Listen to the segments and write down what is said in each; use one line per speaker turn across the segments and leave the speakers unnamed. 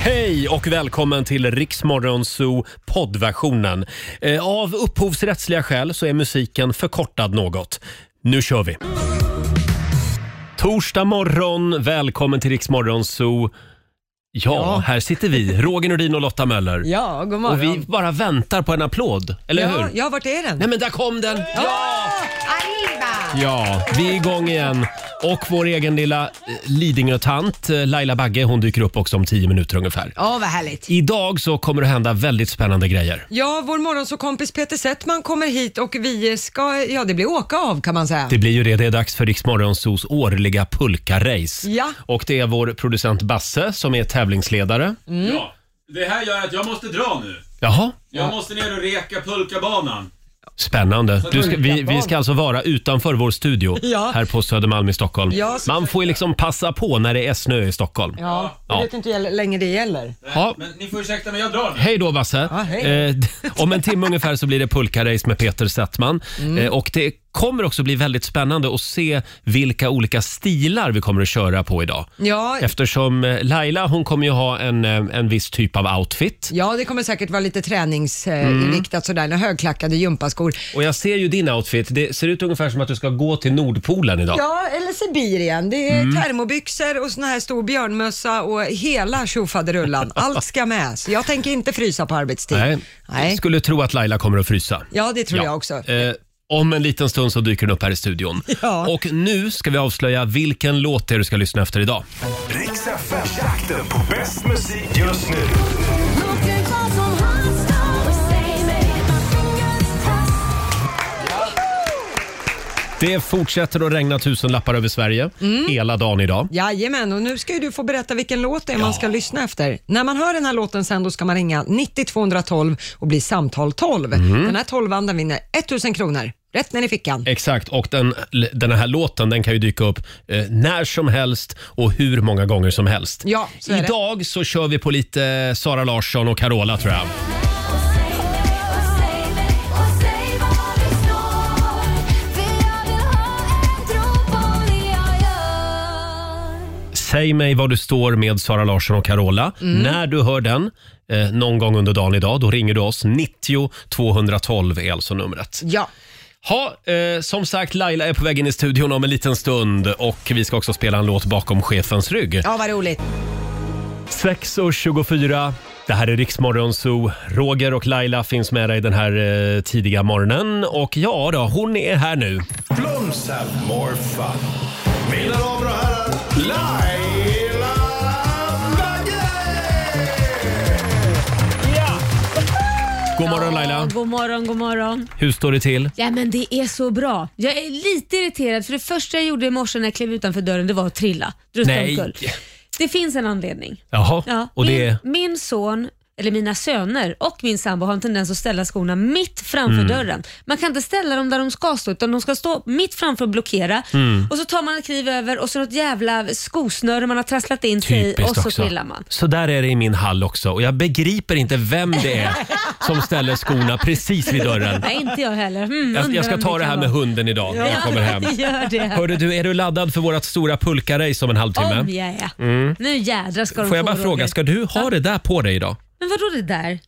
Hej och välkommen till Riksmorgon Zoo poddversionen. Eh, Av upphovsrättsliga skäl så är musiken förkortad något. Nu kör vi! Torsdag morgon, välkommen till Riksmorgon Zoo. Ja, här sitter vi, Roger Nordin och Lotta Möller.
Ja, god
Och
morgon.
vi bara väntar på en applåd, eller
ja,
hur?
ja, vart är den?
Nej men där kom den! Ja!
Arriba!
Ja, vi är igång igen. Och vår egen lilla eh, Lidingötant eh, Laila Bagge, hon dyker upp också om tio minuter ungefär.
Ja, vad härligt.
Idag så kommer det hända väldigt spännande grejer.
Ja, vår morgonsåkompis Peter Settman kommer hit och vi ska, ja det blir åka av kan man säga.
Det blir ju det. Det är dags för Riksmorgonsos årliga pulka-race.
Ja.
Och det är vår producent Basse som är tävlingsledare.
Ja, det här gör att jag måste dra nu.
Jaha,
Jag måste ner och reka pulkabanan.
spännande. Du ska, vi, vi ska alltså vara utanför vår studio
Ja.
här på Södermalm i Stockholm.
Ja, så-
Man får ju liksom passa på när det är snö i Stockholm.
Ja, jag
Ja.
vet inte hur länge det gäller.
Ja.
Men ni får ursäkta men jag drar nu.
Hej då Basse!
Ja, hej.
Eh, d- om en timme ungefär så blir det pulkarace med Peter Settman.
Mm.
Eh, och det kommer också bli väldigt spännande att se vilka olika stilar vi kommer att köra på idag.
Ja,
Eftersom eh, Laila hon kommer ju ha en, eh, en viss typ av outfit.
ja det kommer säkert vara lite träningsinriktat
Mm.
sådär, några högklackade gympaskor.
Och jag ser ju din outfit. Det ser ut ungefär som att du ska gå till Nordpolen idag.
Ja, eller Sibirien. Det är
Mm.
termobyxor och sån här stor björnmössa och hela tjofaderullan. Allt ska med. Så jag tänker inte frysa på arbetstid.
Nej.
Nej.
Skulle tro att Laila kommer att frysa.
Ja, det tror
Ja.
jag också.
Eh, om en liten stund så dyker den upp här i studion.
Ja.
Och nu ska vi avslöja vilken låt det är du ska lyssna efter idag.
Riks FM, jakten på bäst musik just nu.
Det fortsätter att regna tusen lappar över Sverige
Mm.
hela dagen idag.
Jajamän, och nu ska ju du få berätta vilken låt det är man ska lyssna efter. När man hör den här låten sen då ska man ringa 9212 och bli samtal 12.
Mhm.
Den här 12 den vinner 1000 kronor, rätt ner i fickan.
Exakt, och den, den här låten den kan ju dyka upp eh, när som helst och hur många gånger som helst.
Ja, så är det.
Idag så kör vi på lite Sara Larsson och Carola tror jag. Säg mig var du står med Sara Larsson och Carola.
Mm.
När du hör den eh, någon gång under dagen idag, då ringer du oss. 90 212 är alltså numret.
Ja,
Ha, eh, som sagt, Laila är på väg in i studion om en liten stund och vi ska också spela en låt bakom chefens rygg.
ja vad roligt.
6.24. Det här är Riksmorgon Zoo. Roger och Laila finns med dig den här eh, tidiga morgonen. Och ja då, hon är här nu.
Blooms have more fun. Mina damer och herrar, Laila Bagge!
God morgon
Ja,
Laila.
god morgon, god morgon.
Hur står det till?
Ja men det är så bra. Jag är lite irriterad för det första jag gjorde i morse när jag klev utanför dörren det var att trilla. Drusta
Nej.
omkull. Det finns en anledning.
Jaha,
Ja,
och
min,
det är...
min son, eller mina söner och min sambo har en tendens att ställa skorna mitt framför
Mm.
dörren. Man kan inte ställa dem där de ska stå utan de ska stå mitt framför och blockera.
Mm.
Och så tar man ett kliv över och så något jävla skosnöre man har trasslat in sig i
Typiskt
och så
också.
trillar man.
Så där är det i min hall också och jag begriper inte vem det är som ställer skorna precis vid dörren.
Nej, inte jag heller. Mm,
Jag,
undrar
jag ska
vem
ta
det
det
kan
här
vara.
med hunden idag när jag kommer hem.
Gör det.
Hörde du, är du laddad för vårt stora pulkarace om en halvtimme? Mm.
Om jag är. Nu jädrar ska de
Får jag
få,
bara
Roger.
fråga, ska du ha det där på dig idag?
Men vadå det där? Vad
Nej,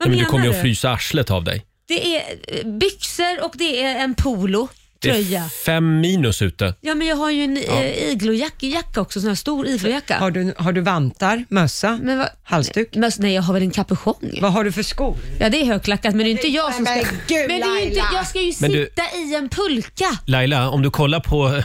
men du
menar
kommer ju att frysa arslet av dig.
Det är eh, byxor och det är en polo.
Det är
Tröja.
fem minus ute.
Ja men jag har ju en eh, ja. iglojacka också, sån här stor iglojacka.
Har du, har du vantar, mössa,
Men vad-
halsduk?
Men, nej jag har väl en kapuschong.
Vad har du för skor?
Ja det är högklackat men det är inte jag som ska...
Men gud,
det är ju inte,
Laila.
jag ska ju
Men du-
sitta i en pulka.
Laila, om du kollar på,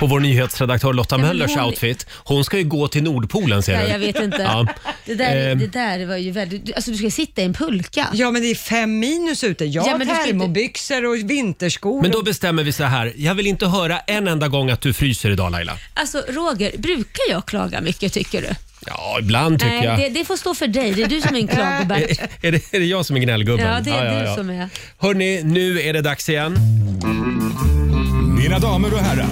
på vår nyhetsredaktör Lotta
men
Möllers
hon-
outfit. Hon ska ju gå till Nordpolen ser
Ja,
du.
jag vet inte.
Ja.
Det, där,
Ehm.
det där var ju väldigt... du- Alltså du ska sitta i en pulka.
Ja men det är fem minus ute. Jag
Ja,
har
men du ska inte-
termobyxor och vinterskor.
Men då bestämmer vi så här. Jag vill inte höra en enda gång att du fryser idag Laila.
Alltså Roger, brukar jag klaga mycket tycker du?
Ja, ibland tycker
Nej,
jag. Eh,
det, det får stå för dig. Det är du som är en klagobärs.
Är, det, är det jag som är gnällgubben?
Ja, det är du som är.
Hörni, nu är det dags igen.
Mina damer och herrar,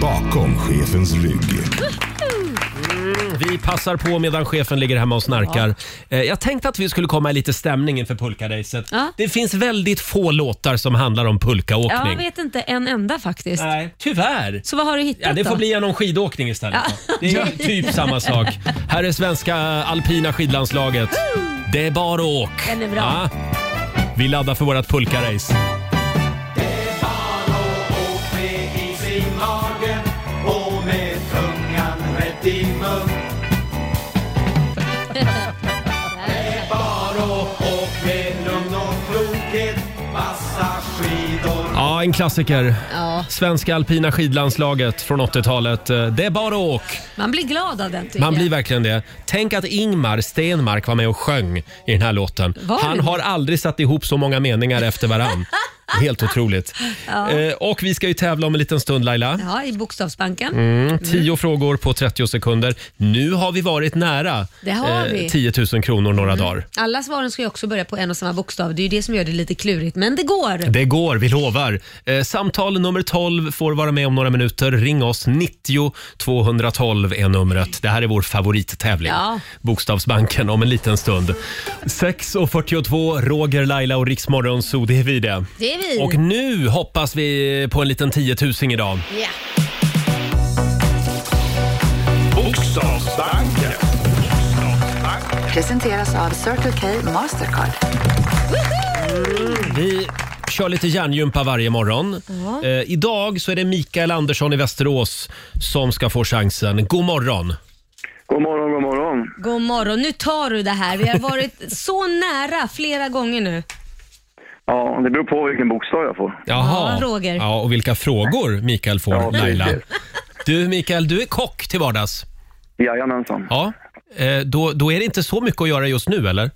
bakom chefens rygg.
Mm, Vi passar på medan chefen ligger hemma och snarkar. Eh, Jag tänkte att vi skulle komma i lite stämning inför pulkaracet.
Ja.
Det finns väldigt få låtar som handlar om
Ja, jag
pulkaåkning.
vet inte en enda faktiskt.
Nej, tyvärr.
Så vad har du hittat
Ja, det får
då?
bli genom skidåkning istället.
Ja.
då. Det är typ samma sak. Här är svenska alpina skidlandslaget. Det är bara åk.
Den är bra.
Ja. Vi laddar för vårt pulkarace. Ja, en klassiker.
Ja.
Svenska alpina skidlandslaget från 80-talet. Eh, Det är bara åk.
Man blir glad av den tycker
Man blir
jag.
verkligen det. Tänk att Ingmar Stenmark var med och sjöng i den här låten.
Var
Han
det?
har aldrig satt ihop så många meningar efter varann. Helt otroligt. Eh, och vi ska ju tävla om en liten stund Laila.
Ja, i Bokstavsbanken.
Mm,
Mm.
Tio frågor på 30 sekunder. Nu har vi varit nära
Det har vi. Mm.
10 000 kronor några dagar.
Alla svaren ska ju också börja på en och samma bokstav. Det är ju det som gör det lite klurigt, men det går.
Det går, vi lovar. Eh, samtal nummer 12 får vara med om några minuter. Ring oss, 90 212 är numret. Det här är vår favorittävling.
Ja.
Bokstavsbanken om en liten stund. 6.42, Roger, Laila och Riksmorgon, så det är vi det.
Det är vi.
Och nu hoppas vi på en liten 10 000 idag.
Ja.
Bokstavsbanken.
Presenteras av Circle K Mastercard.
Vi kör lite hjärngympa varje morgon. Eh, idag så är det Mikael Andersson i Västerås som ska få chansen. God morgon!
God morgon, god morgon.
God morgon. Nu tar du det här. Vi har varit så nära flera gånger nu. Äh,
Ja, det beror på vilken bokstav jag får.
Jaha.
Ja, Roger.
Ja, och vilka frågor Mikael får,
Ja, precis.
Laila. Du Mikael, du är kock till vardags.
Jajamensan.
Ja. Eh, då, då är det inte så mycket att göra just nu, eller?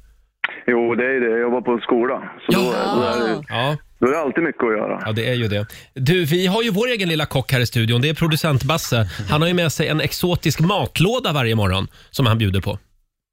Jo, det är ju det. Jag jobbar på en skola. Så då,
Ja.
då, är det,
Ja,
då är det alltid mycket att göra.
ja det är ju det. Du, vi har ju vår egen lilla kock här i studion. Det är producent Basse. Han har ju med sig en exotisk matlåda varje morgon som han bjuder på.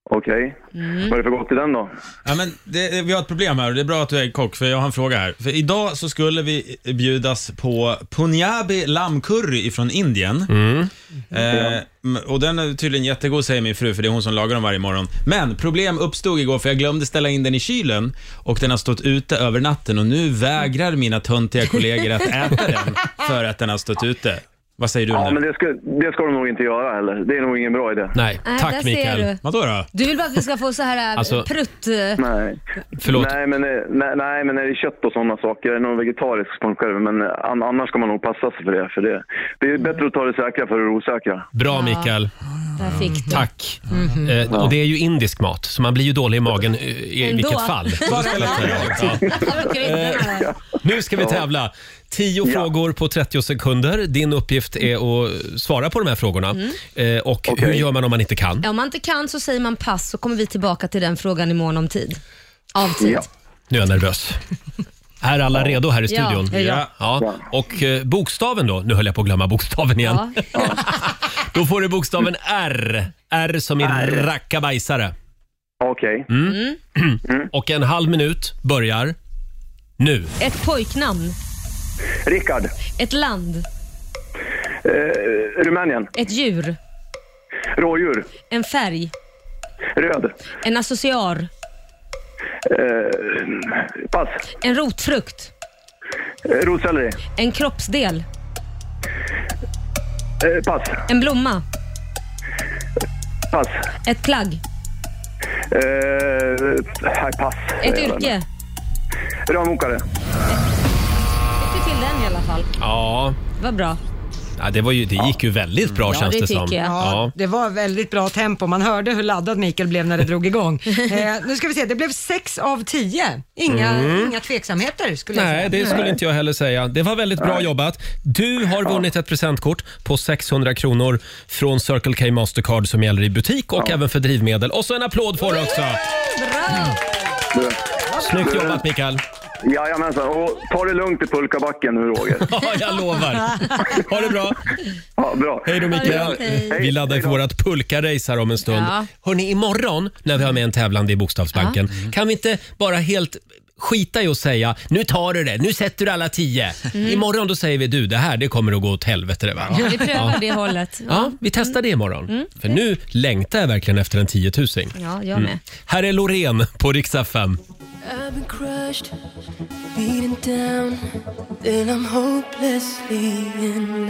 Okej.
Mm.
Vad är det för gott i den då?
Ja, men det, det- vi har ett problem här och det är bra att du är kock för jag har en fråga här. För idag så skulle vi bjudas på punjabi lammcurry ifrån Indien.
Mm.
Mm.
Eh, m- och den är tydligen jättegod säger min fru för det är hon som lagar dem varje morgon. Men problem uppstod igår för jag glömde ställa in den i kylen och den har stått ute över natten och nu vägrar mina töntiga kollegor att äta den för att den har stått ute. Vad säger du
Ja,
om
men
det?
det ska, det ska de nog inte göra heller. Det är nog ingen bra idé.
Nej,
Nej, där
tack
ser
Mikael.
du.
Vadå då?
Du vill bara att vi ska få så här
Alltså-
alltså, prutt... eh,
Nej.
Förlåt.
Nej, men, eh, nej, nej, men är det kött och sådana saker, är det någon vegetarisk på själv, men eh, an, annars ska man nog passa sig för det. För det, det är bättre att ta det säkra för det osäkra.
Bra Mikael.
Där fick du. Mhm.
Tack. Eh, och det är ju indisk mat, så man blir ju dålig i magen eh, i
Ändå.
vilket fall. Ja.
Jag orkar inte mer.
Nu ska vi tävla. Tio frågor på 30 sekunder. Din uppgift är att svara på de här frågorna. Eh, och hur gör man om man inte kan?
Mm. Ja, Om man inte kan så säger man pass så kommer vi tillbaka till den frågan i mån om tid. Av tid.
Ja.
Nu är jag nervös. Är alla redo här i
Ja,
studion?
ja, ja.
Ja. Och eh, bokstaven då? Nu höll jag på att glömma bokstaven igen.
Ja.
Då får du bokstaven R. R som i rackabajsare.
Okej.
Mm.
Mm.
Och en halv minut börjar nu.
Ett pojknamn,
Rickard.
ett land,
Eh, Rumänien.
ett djur,
Rådjur.
en färg,
Röd.
en associar,
Eh, pass.
en rotfrukt,
Eh, Rotselleri.
en kroppsdel,
Eh, pass.
en blomma,
Pass.
ett plagg,
Eh, nej, pass.
ett
Eh,
yrke.
Rörmokare.
Fick du till den i alla fall?
Ja,
Vad bra.
ja, det, var ju, det gick ju väldigt bra
Ja,
känns
det
det,
tycker
som.
jag.
Ja, det var väldigt bra tempo. Man hörde hur laddad Mikael blev när det drog igång. Eh, nu ska vi se, det blev 6 av 10. Inga, inga tveksamheter skulle jag
Mm. Nej,
säga.
det skulle inte jag heller säga. Det var väldigt bra jobbat. Du har vunnit ett presentkort på 600 kronor från Circle K Mastercard som gäller i butik och även för drivmedel. Och så en applåd får du också!
Bra!
Du.
Snyggt jobbat Mikael!
Jajamensan. Och ta det lugnt i pulkabacken nu, Roger.
Ja, jag lovar. Ha det bra.
Ja, bra.
Hej då Mikael.
Hej.
Vi laddar för vårt pulka-race här om en stund.
Ja. Mm.
Hörni, imorgon när vi har med en tävlande i Bokstavsbanken kan vi inte bara helt skita i att säga nu tar du det, nu sätter du alla tio. Imorgon då säger vi du, det här det kommer att gå åt helvete. Det, va? Ja.
Mm. Vi prövar det hållet.
Ja, vi testar det imorgon. För nu längtar jag verkligen efter en tiotusing. Mm.
Ja, jag med.
Här är Loreen på Rix FM.
I've been crushed, beaten down, then I'm hopelessly in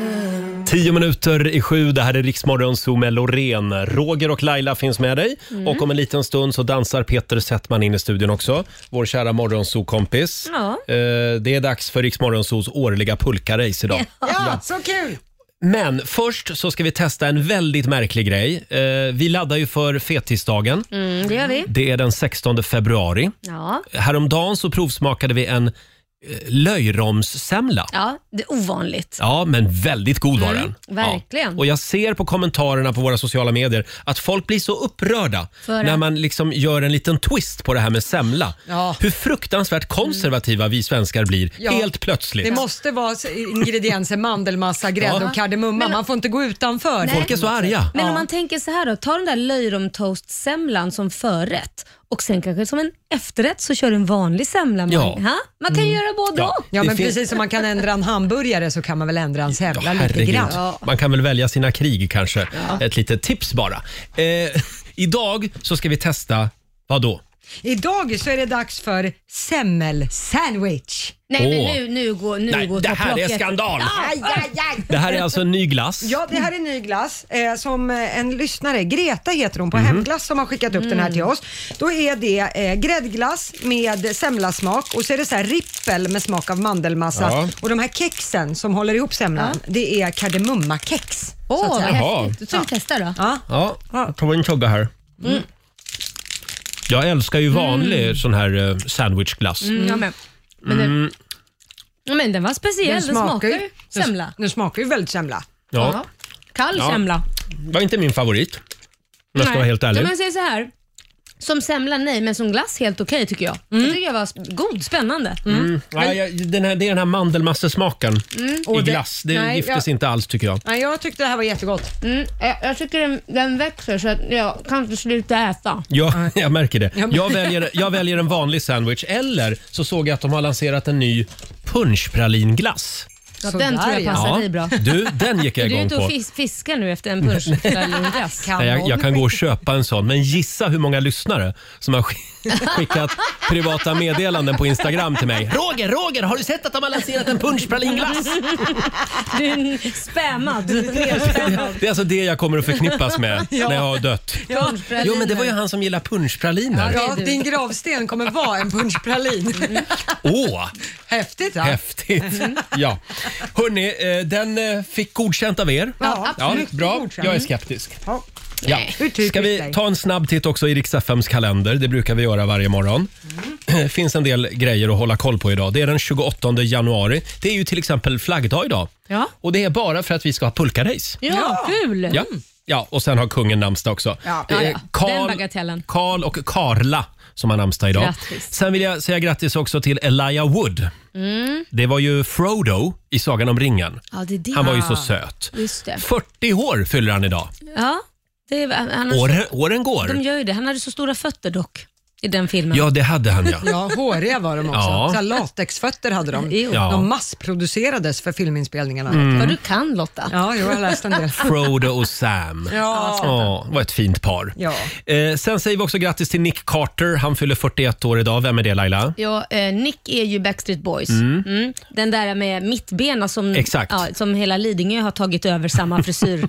love.
Tio minuter i sju, det här är Riksmorgon Zoo med Loreen. Roger och Laila finns med dig.
Mm.
Och om en liten stund så dansar Peter Settman in i studion också. Vår kära morgonzoo-kompis.
Ja.
Eh, det är dags för Riksmorgonzoos årliga pulkarace idag.
Ja, så kul!
Men först så ska vi testa en väldigt märklig grej. Eh, vi laddar ju för fetisdagen.
Mm, det gör vi.
Det är den 16 februari.
Ja.
Häromdagen så provsmakade vi en eh, löjromssemla.
ja, det är ovanligt.
Ja, men väldigt god var den.
Mm, verkligen.
Ja. Och jag ser på kommentarerna på våra sociala medier att folk blir så upprörda
För
när
att-
man liksom gör en liten twist på det här med semla.
Ja.
Hur fruktansvärt konservativa vi svenskar blir
Ja.
helt plötsligt.
Det måste vara ingredienser, mandelmassa, grädde
Ja.
och kardemumma. Man får inte gå utanför.
Folk är så arga.
Men
Ja.
om man tänker så här då, ta den där löjromtoastsemlan som förrätt och sen kanske som en efterrätt så kör du en vanlig semla.
Ja.
Man, ha? man kan göra både
Mm. Ja.
och.
Ja,
Det
men
finns-
precis som man kan ändra en hamburgare så kan man väl ändra en semla lite
herregud.
grann.
Man kan väl välja sina krig kanske. Ett litet tips bara. Eh, idag så ska vi testa, vad då?
Idag så är det dags för semmelsandwich.
Nej
Åh.
men nu, nu går nu
Nej,
går
det
ta
här är
plocket.
skandal! Det här är alltså en ny glass.
Ja, det här är en ny glass eh, som eh, en lyssnare, Greta heter hon på
Mhm.
Hemglass som har skickat upp den här till
Mm.
oss. Då är det eh, gräddglass med semlasmak och så är det så här rippel med smak av mandelmassa.
Ja.
Och de här kexen som håller ihop semlan, det är kardemummakex.
Åh, vad
Jaha.
häftigt. Då ska vi testa då.
Ja.
Ja, jag tar en tugga här.
Mm.
Jag älskar ju vanlig sån här eh, sandwichglass. Mm,
Ja, men, men, den, ja, men den var speciell. Den smakar ju semla.
Den smakar ju väldigt semla.
Ja,
Ja. Kall
Ja.
semla.
var inte min favorit. Om jag ska
Nej.
vara helt
Så
ärlig.
man säger så här. Som semla, nej, men som glass helt okej tycker jag. Det tycker jag var sp- god, spännande.
Mm.
Mm.
Ja, Mm. jag, den här, det är den här mandelmassesmaken i
Och det-
glass. Det
nej,
giftes inte alls tycker jag.
Nej, jag tyckte det här var jättegott.
Mm, jag, jag tycker den, den växer så att jag kan inte sluta äta.
Ja, jag märker det.
men-
Jag väljer, jag väljer en vanlig sandwich eller så såg jag att de har lanserat en ny punschpralinglass.
Ja,
Så
den
där,
tror jag
ja.
passar dig bra.
Du, den gick jag
Du är
igång
ute och
på.
fis fiskar nu efter en punsch pralinglass.
Nej, jag, jag kan gå och köpa en sån, men gissa hur många lyssnare som har sk- skickat privata meddelanden på Instagram till mig. Roger, Roger, har du sett att de har lanserat en punschpralinglass?
Du är spammad.
Det är alltså det jag kommer att förknippas med
Ja.
när jag har dött.
Punschpraliner.
Jo, men det var ju han som gillar punschpraliner. Åh,
Ja, din gravsten kommer vara en punschpralin. Häftigt va?
häftigt!
Mm.
Mhm.
Ja. Hörni, den eh, fick godkänt av er.
Ja, absolut.
bra.
Godkänt.
Jag är skeptisk.
Ja.
Ja.
Hur typiskt
Ska vi
dig.
ta en snabb titt också i Riks-FMs kalender? Det brukar vi göra varje morgon.
Mm.
Det finns en del grejer att hålla koll på idag. Det är den 28 januari. Det är ju till exempel flaggdag idag.
Ja.
Och det är bara för att vi ska ha pulkarace.
Ja, kul.
Ja. ja, och sen har kungen namnsdag också.
Ja.
Det är
Ja, ja.
Karl-
Den bagatellen.
Karl och Karla som har namnsdag idag.
Grattis.
Sen vill jag säga grattis också till Elijah Wood.
Mm.
Det var ju Frodo i Sagan om ringen.
Ja, det är det.
Han var ju så söt.
Just det.
40 år fyller han idag.
Ja, det är, han har,
År, åren går.
de gör ju det. Han hade så stora fötter dock i den filmen.
Ja, det hade han ja.
Ja, håriga var de också.
Ja.
Så här latexfötter hade de.
Jo.
Ja. Mm.
De massproducerades för filminspelningarna.
Vad du kan Lotta.
Ja, jo, jag läste en del.
Frodo och Sam.
Ja.
Ja, var ett fint par.
Ja.
Eh, sen säger vi också grattis till Nick Carter. Han fyller 41 år idag. Vem är det Laila?
Ja, eh, Nick är ju Backstreet Boys. Mm. Den där med mittbena som,
Exakt.
Ja, som hela Lidingö har tagit över samma frisyr.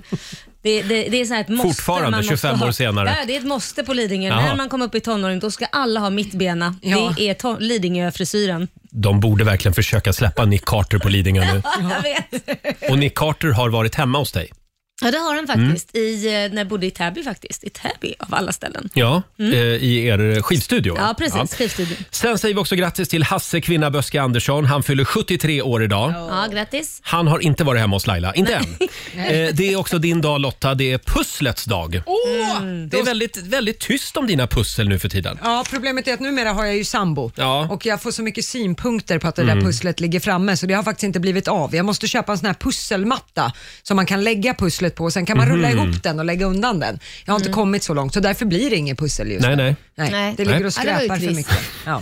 det, det, det är så här ett måste
Fortfarande,
man måste
25 år
ha.
senare.
Ja, det är ett måste på Lidingö.
Jaha.
När man kommer upp i tonåren då ska alla ha mittbena.
Ja.
Det är to- Lidingö-frisyren.
De borde verkligen försöka släppa Nick Carter på Lidingö nu.
Jag vet.
Och Nick Carter har varit hemma hos dig.
Ja, det har han
Mm.
faktiskt. I, eh, när jag bodde i Täby faktiskt. I Täby av alla ställen.
Ja, eh, i er skivstudio. va?
Mm. Ja, precis. Skivstudion.
Sen säger vi också grattis till Hasse Kvinna Böske Andersson. Han fyller 73 år idag.
Ja, grattis.
Han har inte varit hemma hos Laila, inte än. Eh, det är också din dag Lotta, det är pusslets dag.
Mm.
Det är väldigt, väldigt tyst om dina pussel nu för tiden.
Ja, problemet är att numera har jag ju sambo
Ja. Mm.
och jag får så mycket synpunkter på att det där pusslet ligger framme så det har faktiskt inte blivit av. Jag måste köpa en sån här pusselmatta som man kan lägga pusslet på och sen kan man rulla
Mhm.
ihop den och lägga undan den. Jag har inte kommit så långt så därför blir det inget pussel just
Nej,
nu.
nej.
Nej,
Mm. Nej.
Det ligger
Nej.
och
Ja, det var ju
skräpar för
trist.
mycket. Ja.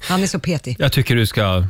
Han är så petig.
Jag tycker du ska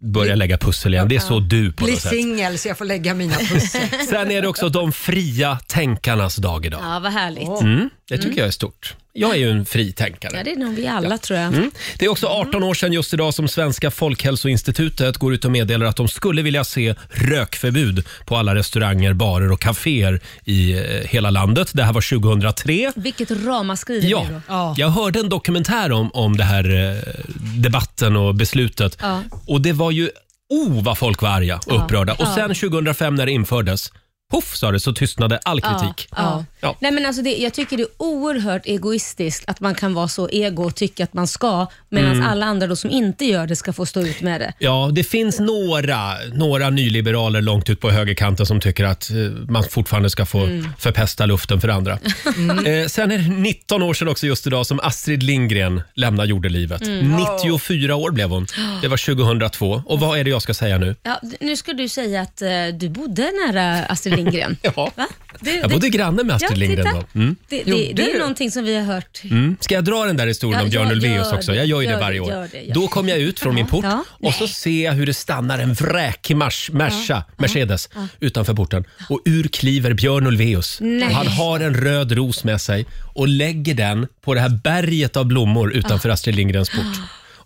börja lägga pussel igen. Det är så du på
Bli
något sätt.
singel så jag får lägga mina pussel.
Sen är det också de fria tänkarnas dag idag.
Ja, vad härligt.
Mm, det tycker jag är stort. Jag är ju en fri
Ja,
tänkare.
det är nog vi alla tror jag.
Mm. Det är också 18 år sedan just idag som Svenska folkhälsoinstitutet går ut och meddelar att de skulle vilja se rökförbud på alla restauranger, barer och kaféer i eh, hela landet. Det här var 2003.
Vilket ramaskri det
Ja,
blev då.
Ja.
jag hörde en dokumentär om, om det här eh, debatten och beslutet.
Ja.
Och det var ju, oh vad folk var arga och
Ja.
upprörda. Och
Ja.
sen 2005 när det infördes, poff sa det, så tystnade all kritik.
Ja, ja.
Ja.
Nej, men alltså det, jag tycker det är oerhört egoistiskt att man kan vara så ego och tycka att man ska, medan
Mm.
alla andra då som inte gör det ska få stå ut med det.
Ja, det finns några, några nyliberaler långt ut på högerkanten som tycker att eh, man fortfarande ska få
Mm.
förpesta luften för andra. Eh, sen är det 19 år sedan också just idag som Astrid Lindgren lämnar jordelivet.
Mm.
94 år blev hon. Det var 2002. Och vad är det jag ska säga nu?
Ja, d- nu ska du säga att eh, du bodde nära Astrid Lindgren.
Ja.
Va? Du,
Jag bodde granne med
ja,
Astrid Lindgren
titta.
då. Mm.
Det, det, det är någonting som vi har hört.
Mm. Ska jag dra den där historien
Ja,
om Björn
gör-
Ulvaeus
gör
också?
det,
Jag gör ju det
gör
varje
det,
år.
gör det, gör
Då
det.
kom jag ut från min port
Ja.
och så ser jag hur det stannar en vräkig mars, Merca, Mercedes utanför porten. Och ur kliver Björn Ulvaeus.
Nej.
Och Han har en röd ros med sig och lägger den på det här berget av blommor
Ah.
utanför Astrid Lindgrens port.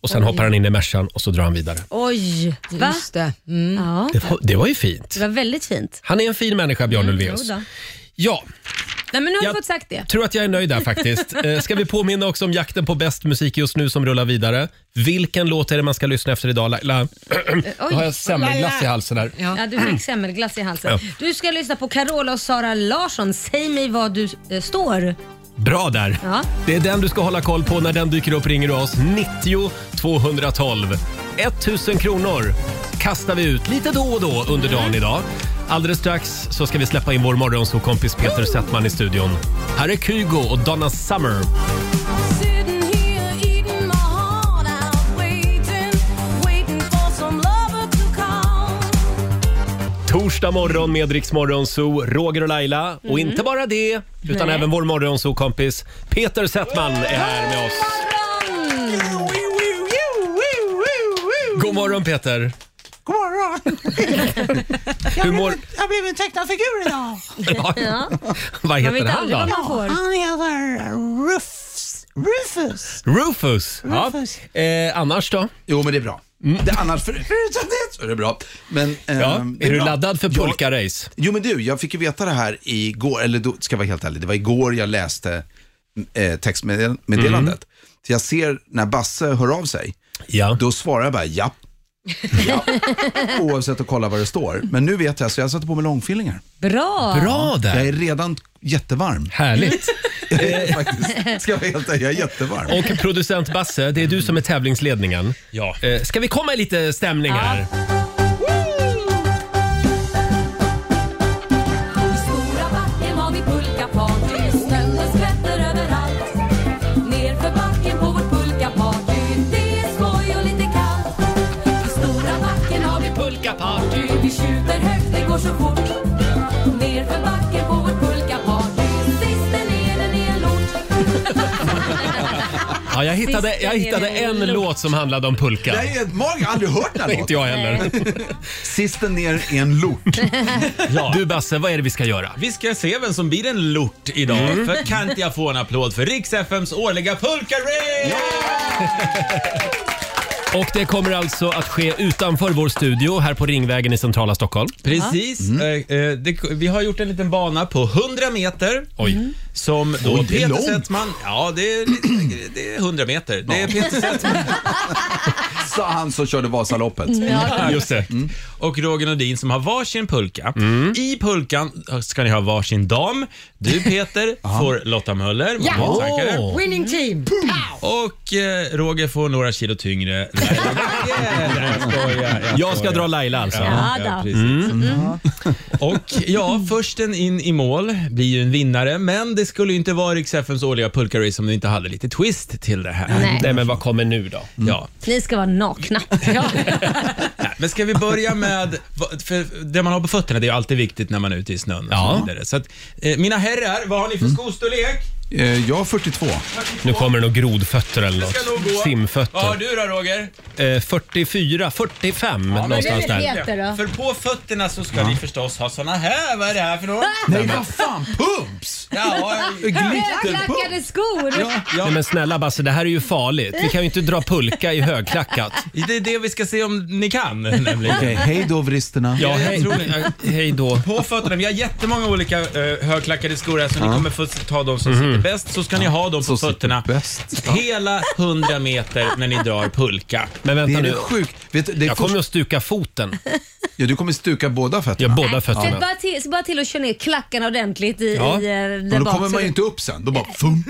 Och sen hoppar han in i Mercan och så drar han vidare.
Oj, va?
Just det. Mm.
Ja,
Det var, det var ju fint.
det var väldigt fint.
Han är en fin människa, Björn
Jo
Ulvaeus.
då.
Ja,
Nej, men nu har
Jag-
vi fått sagt det.
tror att jag är nöjd där faktiskt. Eh, Ska vi påminna också om jakten på bäst musik just nu som rullar vidare. Vilken låt är det man ska lyssna efter idag Laila? Nu har jag semmelglass i halsen här.
Ja.
Ja, du fick semmelglass i halsen.
Ja.
Du ska lyssna på Carola och Sara Larsson. Säg mig var du eh, står.
Bra där!
Ja.
Det är den du ska hålla koll på. När den dyker upp ringer du oss. 90 212. 1000 kronor kastar vi ut lite då och då under dagen idag. Alldeles strax så ska vi släppa in vår morgonsåkompis Peter Settman i studion. Här är Kygo och Donna Summer.
Sitting here eating my heart out, waiting, waiting for some lover to call.
Torsdag morgon med Rix Morgonzoo, Roger och Laila. Och inte bara det, utan
Nej.
även vår morgonzoo-kompis Peter Settman är här med oss. God morgon Peter!
God morgon!
Hur mår...
Jag blev en tecknad figur idag.
Ja. Vad
Man
heter
vet
han
aldrig
då?
vad man får.
Han heter Rufus. Rufus.
Rufus!
Rufus.
Ja. Eh, annars då? Mm.
Jo, men det är bra. Det, annars, för, förutom det så är det bra. Men, ehm,
Ja.
det
är du
bra.
laddad för
Jag-
pulka-race?
Jo men du, jag fick ju veta det här igår, eller då, ska jag vara helt ärlig, det var igår jag läste eh, textmeddelandet. Så jag ser när Basse hör av sig,
Mm. Ja.
då svarar jag bara ja. ja. Oavsett att kolla vad det står. Men nu vet jag, så jag satte på mig långfillingar.
Bra!
Bra
Jag
där!
är redan jättevarm.
Härligt!
Jag är faktiskt, ska jag vara helt ärlig, jag är jättevarm.
Och producent Basse, det är du som är tävlingsledningen. Ja. Ska vi komma i lite stämning här?
I stora backen har vi pulkaparty. Snön skvätter överallt. Nerför backen på vårt pulkaparty. Det är skoj och lite kallt. I stora backen har vi pulkaparty. Vi skjuter högt, det går så fort. Nerför backen på vårt pulkaparty. Sist den är den är en lort.
Ja, jag hittade,
Sista
jag hittade
delen
en
är lugnt.
låt som handlade om pulka.
Det här är helt magiskt, jag har aldrig hört den här
Inte
låten.
jag heller.
Sisten ner är en lort.
Du Basse, vad är det vi ska göra? Mm.
Vi ska se vem som blir en lort idag. För kan inte jag få en applåd för Rix FMs årliga pulka
Och det kommer alltså att ske utanför vår studio här på Ringvägen i centrala Stockholm.
Precis. Eh, eh, det, vi har gjort en liten bana på 100 meter.
Oj.
Som då
Oj, det är
Peter
långt.
Settman... Ja, det är, lite- det är 100 meter. Det är Peter Settman Mm,
Sa han som körde Vasaloppet.
Just det. Mm.
och Roger Nordin som har varsin pulka. I pulkan ska ni ha varsin dam. Du Peter får Lotta Möller, vår målsökare.
Åh.
Winning team.
Och eh, Roger får några kilo tyngre. Nej, jag skojar,
Jag ska
skojar.
dra Laila alltså. Mm.
Ja,
Ja,
då.
precis. Mm. Och ja, försten in i mål blir ju en vinnare, men det skulle ju inte vara Rix FMs årliga pulka-race om du inte hade lite twist till det här. Mm.
Nej,
Nej men vad kommer nu då?
Ja.
ni ska vara nakna.
Nej, Men ska vi börja med, vad- för det man har på fötterna det är ju alltid viktigt när man är ute i snön. Och
Ja. Mm.
så vidare. Så att, eh, mina herrar, vad har ni för skostorlek?
Eh, jag har 42.
Nu kommer det nog grodfötter eller
Det
något.
ska nog gå. Vad har
Simfötter.
du då Roger?
Eh, 44, 45 någonstans
det är
där.
det. Peter då?
För på fötterna så ska vi förstås ha såna här. Vad är det här för något?
Nej, vad fan, pumps!
Ja,
Glitterpumps!
Högklackade skor!
ja, ja.
Nej men snälla Basse, det här är ju farligt. Vi kan ju inte dra pulka i högklackat.
Det är det vi ska se om ni kan. Nämligen.
Okej, hej då vristerna.
Ja,
Jag
hej,
tror det.
eh, hej då.
På fötterna. Vi har jättemånga olika eh, högklackade skor här så ni kommer få ta de som
Mhm.
sitter bäst. Så ska ni ha dem på
Så sitter
fötterna
bäst.
hela 100 meter när ni drar pulka.
Men
Det
vänta
är
nu.
det sjukt. Vet du, det är
Jag kommer
först-
att stuka foten.
ja, du kommer stuka båda
Ja,
fötterna.
båda
Sätt
fötterna.
bara till, så bara till att köra ner klackarna ordentligt i,
Ja.
i eh, där
Men då
bak,
kommer
så
man ju
det-
inte upp sen. Då bara fump.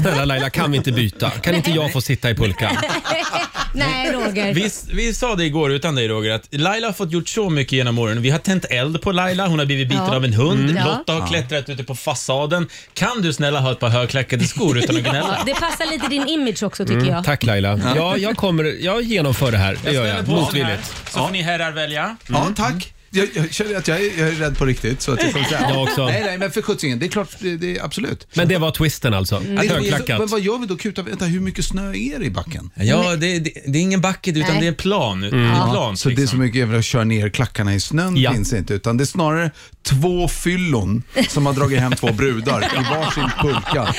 Snälla Laila, kan vi inte byta? Kan inte jag få sitta i pulka?
Nej Roger.
Vi, vi sa det igår utan dig Roger att Laila har fått gjort så mycket genom åren. Vi har tänt eld på Laila, hon har blivit biten
Ja. Mm.
av en hund.
Ja.
Lotta har klättrat ute på fasaden. Kan du snälla ha ett par högklackade skor utan att gnälla?
Ja, det passar lite din image också tycker jag.
Mm, Tack Laila. Ja, jag, kommer, jag genomför det här. Det gör jag.
ställer på den
Motvilligt.
här, Så får ni herrar välja. Mm.
Ja, tack. Mm. Jag, jag känner att jag är, jag är rädd på riktigt. Så att jag, kommer säga,
Jag också.
Nej, nej, men för sjuttsingen. Det är klart, det, det är absolut.
Men det var twisten alltså.
Mm.
Att
Mm. Det är- Men
högklackat.
vad gör vi då? Kutar vi? Vänta, hur mycket snö är det i backen? Mm.
Ja, det, det, det är ingen bucket utan
Nej.
det är en plan. Det är en plan liksom.
Så det är så mycket över att köra ner klackarna i snön
Ja.
finns inte, utan det är snarare två fyllon som har dragit hem två brudar i varsin pulka.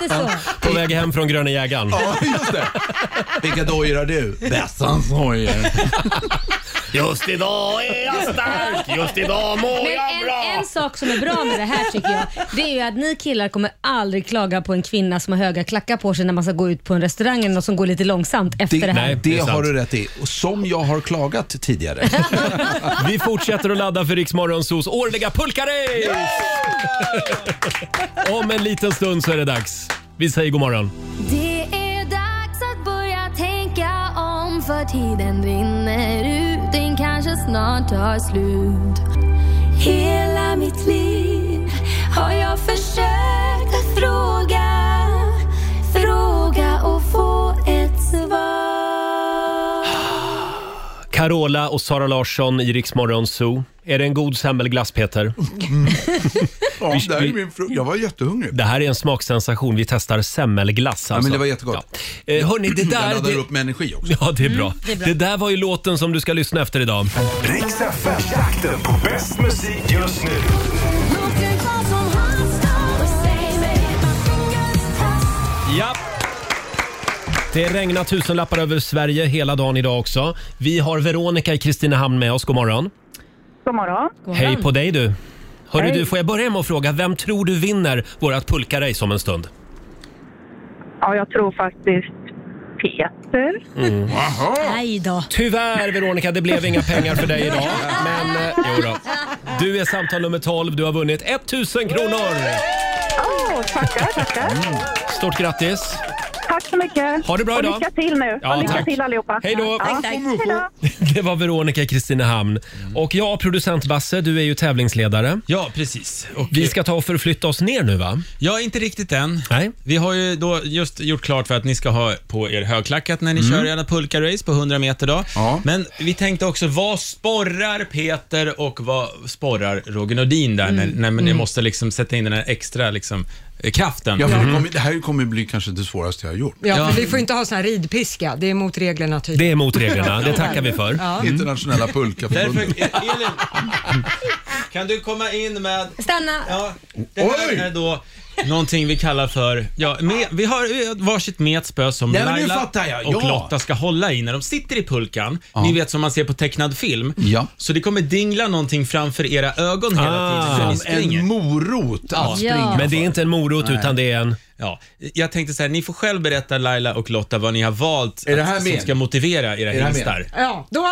Lite så.
På väg hem från Gröna jägaren.
Ja, just det. Vilka dojor har du? Bessans dojor.
Just idag är jag stark, just idag mår
Men en, en sak som är bra med det här tycker jag, det är ju att ni killar kommer aldrig klaga på en kvinna som har höga klackar på sig när man ska gå ut på en restaurang eller något som går lite långsamt efter det,
Det,
här.
Nej, det
det
är sant.
har du rätt i. Och som jag har klagat tidigare.
Vi fortsätter att ladda för Rix Morgonzos årliga pulkarace! Om en liten stund så är det dags. Vi säger god morgon.
Det är dags att börja tänka om för tiden rinner ut, den kanske snart tar slut. Hela mitt liv har jag försökt att fråga, fråga och få ett svar.
Carola och Sara Larsson i Rix Morgonzoo. Är det en god semmelglass Peter?
Ja, det här är min fru- jag var jättehungrig.
Det här är en smaksensation. Vi testar semmelglass alltså.
men det var jättegott.
Ja. Eh, hörni, det
Jag
där...
laddar
Det,
upp med energi också.
ja, det är, bra. Mm, Det där var ju låten som du ska lyssna efter idag.
Riks FM, jakten på bäst musik just nu.
Ja. Det regnar tusenlappar över Sverige hela dagen idag också. Vi har Veronica i Kristinehamn med oss. God morgon.
God morgon.
God morgon.
Hej på dig du. Hörru du, får jag börja med att fråga, vem tror du vinner vårat pulkarace om en stund?
Ja, jag tror faktiskt Peter.
Nej då.
Tyvärr Veronica, Mm. det blev inga pengar för dig idag. Men eh, jo då. Du är samtal nummer 12, du har vunnit 1000 kronor!
Åh, tackar, tackar.
Mm. Stort grattis!
Tack så mycket.
Ha det bra
och
idag.
Lycka till nu.
Ja,
och lycka
tack.
till allihopa.
Hej då.
Ja.
tack.
Hej då.
Det var Veronica i Kristinehamn.
Mm.
Och ja, producent Basse, du är ju tävlingsledare.
Ja, precis. Och
Vi ska ta och förflytta oss ner nu va?
Ja, inte riktigt än.
Nej.
Vi har ju då just gjort klart för att ni ska ha på er högklackat när ni kör era pulka-race på 100 meter då.
Mm. Ja.
Men vi tänkte också, vad sporrar Peter och vad sporrar Roger Nordin där när, när ni måste liksom sätta in den här extra liksom, eh, kraften?
Ja, för det, kommer, det här kommer bli kanske det svåraste jag har gjort.
Ja, men vi får inte ha sån här ridpiska. Det är mot reglerna typ.
Det är mot reglerna, det tackar vi för.
Mm. Internationella
Därför,
pulkaförbundet.
Elin, kan du komma in med
Stanna.
Ja, det här
Oj!
är då någonting vi kallar för... Ja, med, vi har eh, varsitt metspö som
Ja, men nu
Laila
fattar jag.
och
Ja.
Lotta ska hålla i när de sitter i pulkan. Ni vet som man ser på tecknad film.
Ja.
Så det kommer dingla någonting framför era ögon hela
Ah.
tiden när ni
Som en
springer.
morot att
Ja.
springa
Men det är inte en morot utan det är en...
Ja, jag tänkte så här, ni får själv berätta Laila och Lotta vad ni har valt
Är det här
att, som
med?
ska motivera era
det här med?
hingstar.
Ja, då,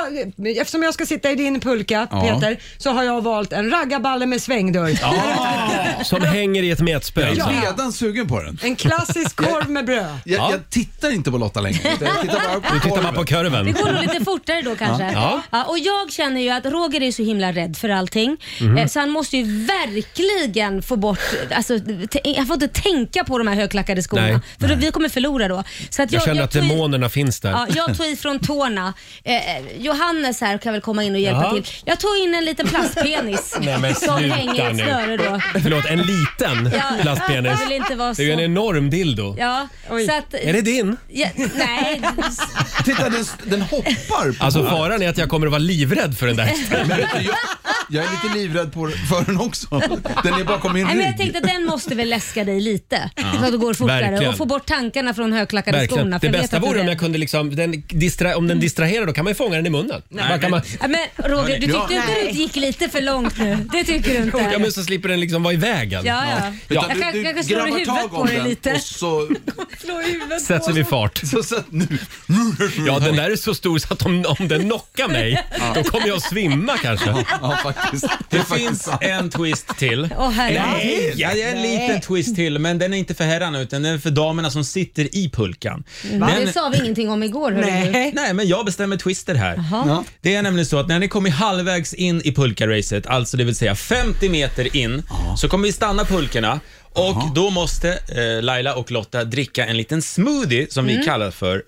eftersom jag ska sitta i din pulka Peter, så har jag valt en raggarballe med svängdörr.
Som hänger i ett metspö
Jag
alltså.
är redan sugen på den.
En klassisk korv med bröd.
Jag,
Ja.
jag tittar inte på Lotta längre. utan Jag tittar bara på
Nu tittar man på
korven.
kurven.
Det går nog lite fortare då kanske.
Ja.
och jag känner ju att Roger är så himla rädd för allting.
Mhm.
Eh, Så han måste ju verkligen få bort, alltså, te- han får inte tänka på de här högklackade skorna.
Nej.
För då, vi kommer förlora då. Så att
Jag känner att
tog i-
demonerna finns
Ja,
där.
jag tog ifrån tårna. Eh, eh, Johannes här kan väl komma in och hjälpa
Ja.
till. Jag tog in en liten plastpenis
Nej, men
som
sluta
hänger i ett
nu.
snöre då.
Förlåt, en liten
Ja,
penis.
Jag vill inte vara
Det är ju en
så.
enorm dildo.
Ja, så att,
Är det din?
Ja, nej.
Titta, den, den hoppar. På
Alltså faran är att jag kommer att vara livrädd för den där.
Men vet du, jag, jag är lite livrädd på, för den också. Den är bakom min
Nej, men
rygg.
jag tänkte att den måste väl läska dig lite så att det går fortare
Verkligen.
och få bort tankarna från högklackade
Verkligen.
skorna. för
Det
jag vet
bästa
att du är
vore om
rädd.
jag kunde liksom, den distra, om den distraherar då kan man ju fånga den i munnen.
Nej,
Man kan man,
Mm. Ja, men Roger, du tyckte
Ja.
inte du gick lite för långt nu. Det tycker du inte?
ja men så slipper den liksom vara i vägen.
Ja, ja.
Ja.
Jag kan- kanske slår
grabbar
i huvudet
tag
på
om
dig
den
lite.
Och så,
Slå i huvudet
Sätt sig vid fart.
Så, så, nu.
Ja, den där är så stor så att om, om den knockar mig,
Ja.
då kommer jag att svimma kanske.
Ja, faktiskt.
Det finns en twist till.
Åh, herregud.
Nej, ja, det är en
Nej.
liten twist till, men den är inte för herrarna utan den är för damerna som sitter i pulkan.
Mm. Va?
Men-
Det sa vi ingenting om igår. hörru du.
Nej, men jag bestämmer twister här.
Jaha. Ja.
Det är nämligen så att när ni kommer halvvägs in i pulkaracet, alltså det vill säga 50 meter in, så kommer vi stanna pulkorna och då måste eh, Laila och Lotta dricka en liten smoothie som vi
Mm.
kallar för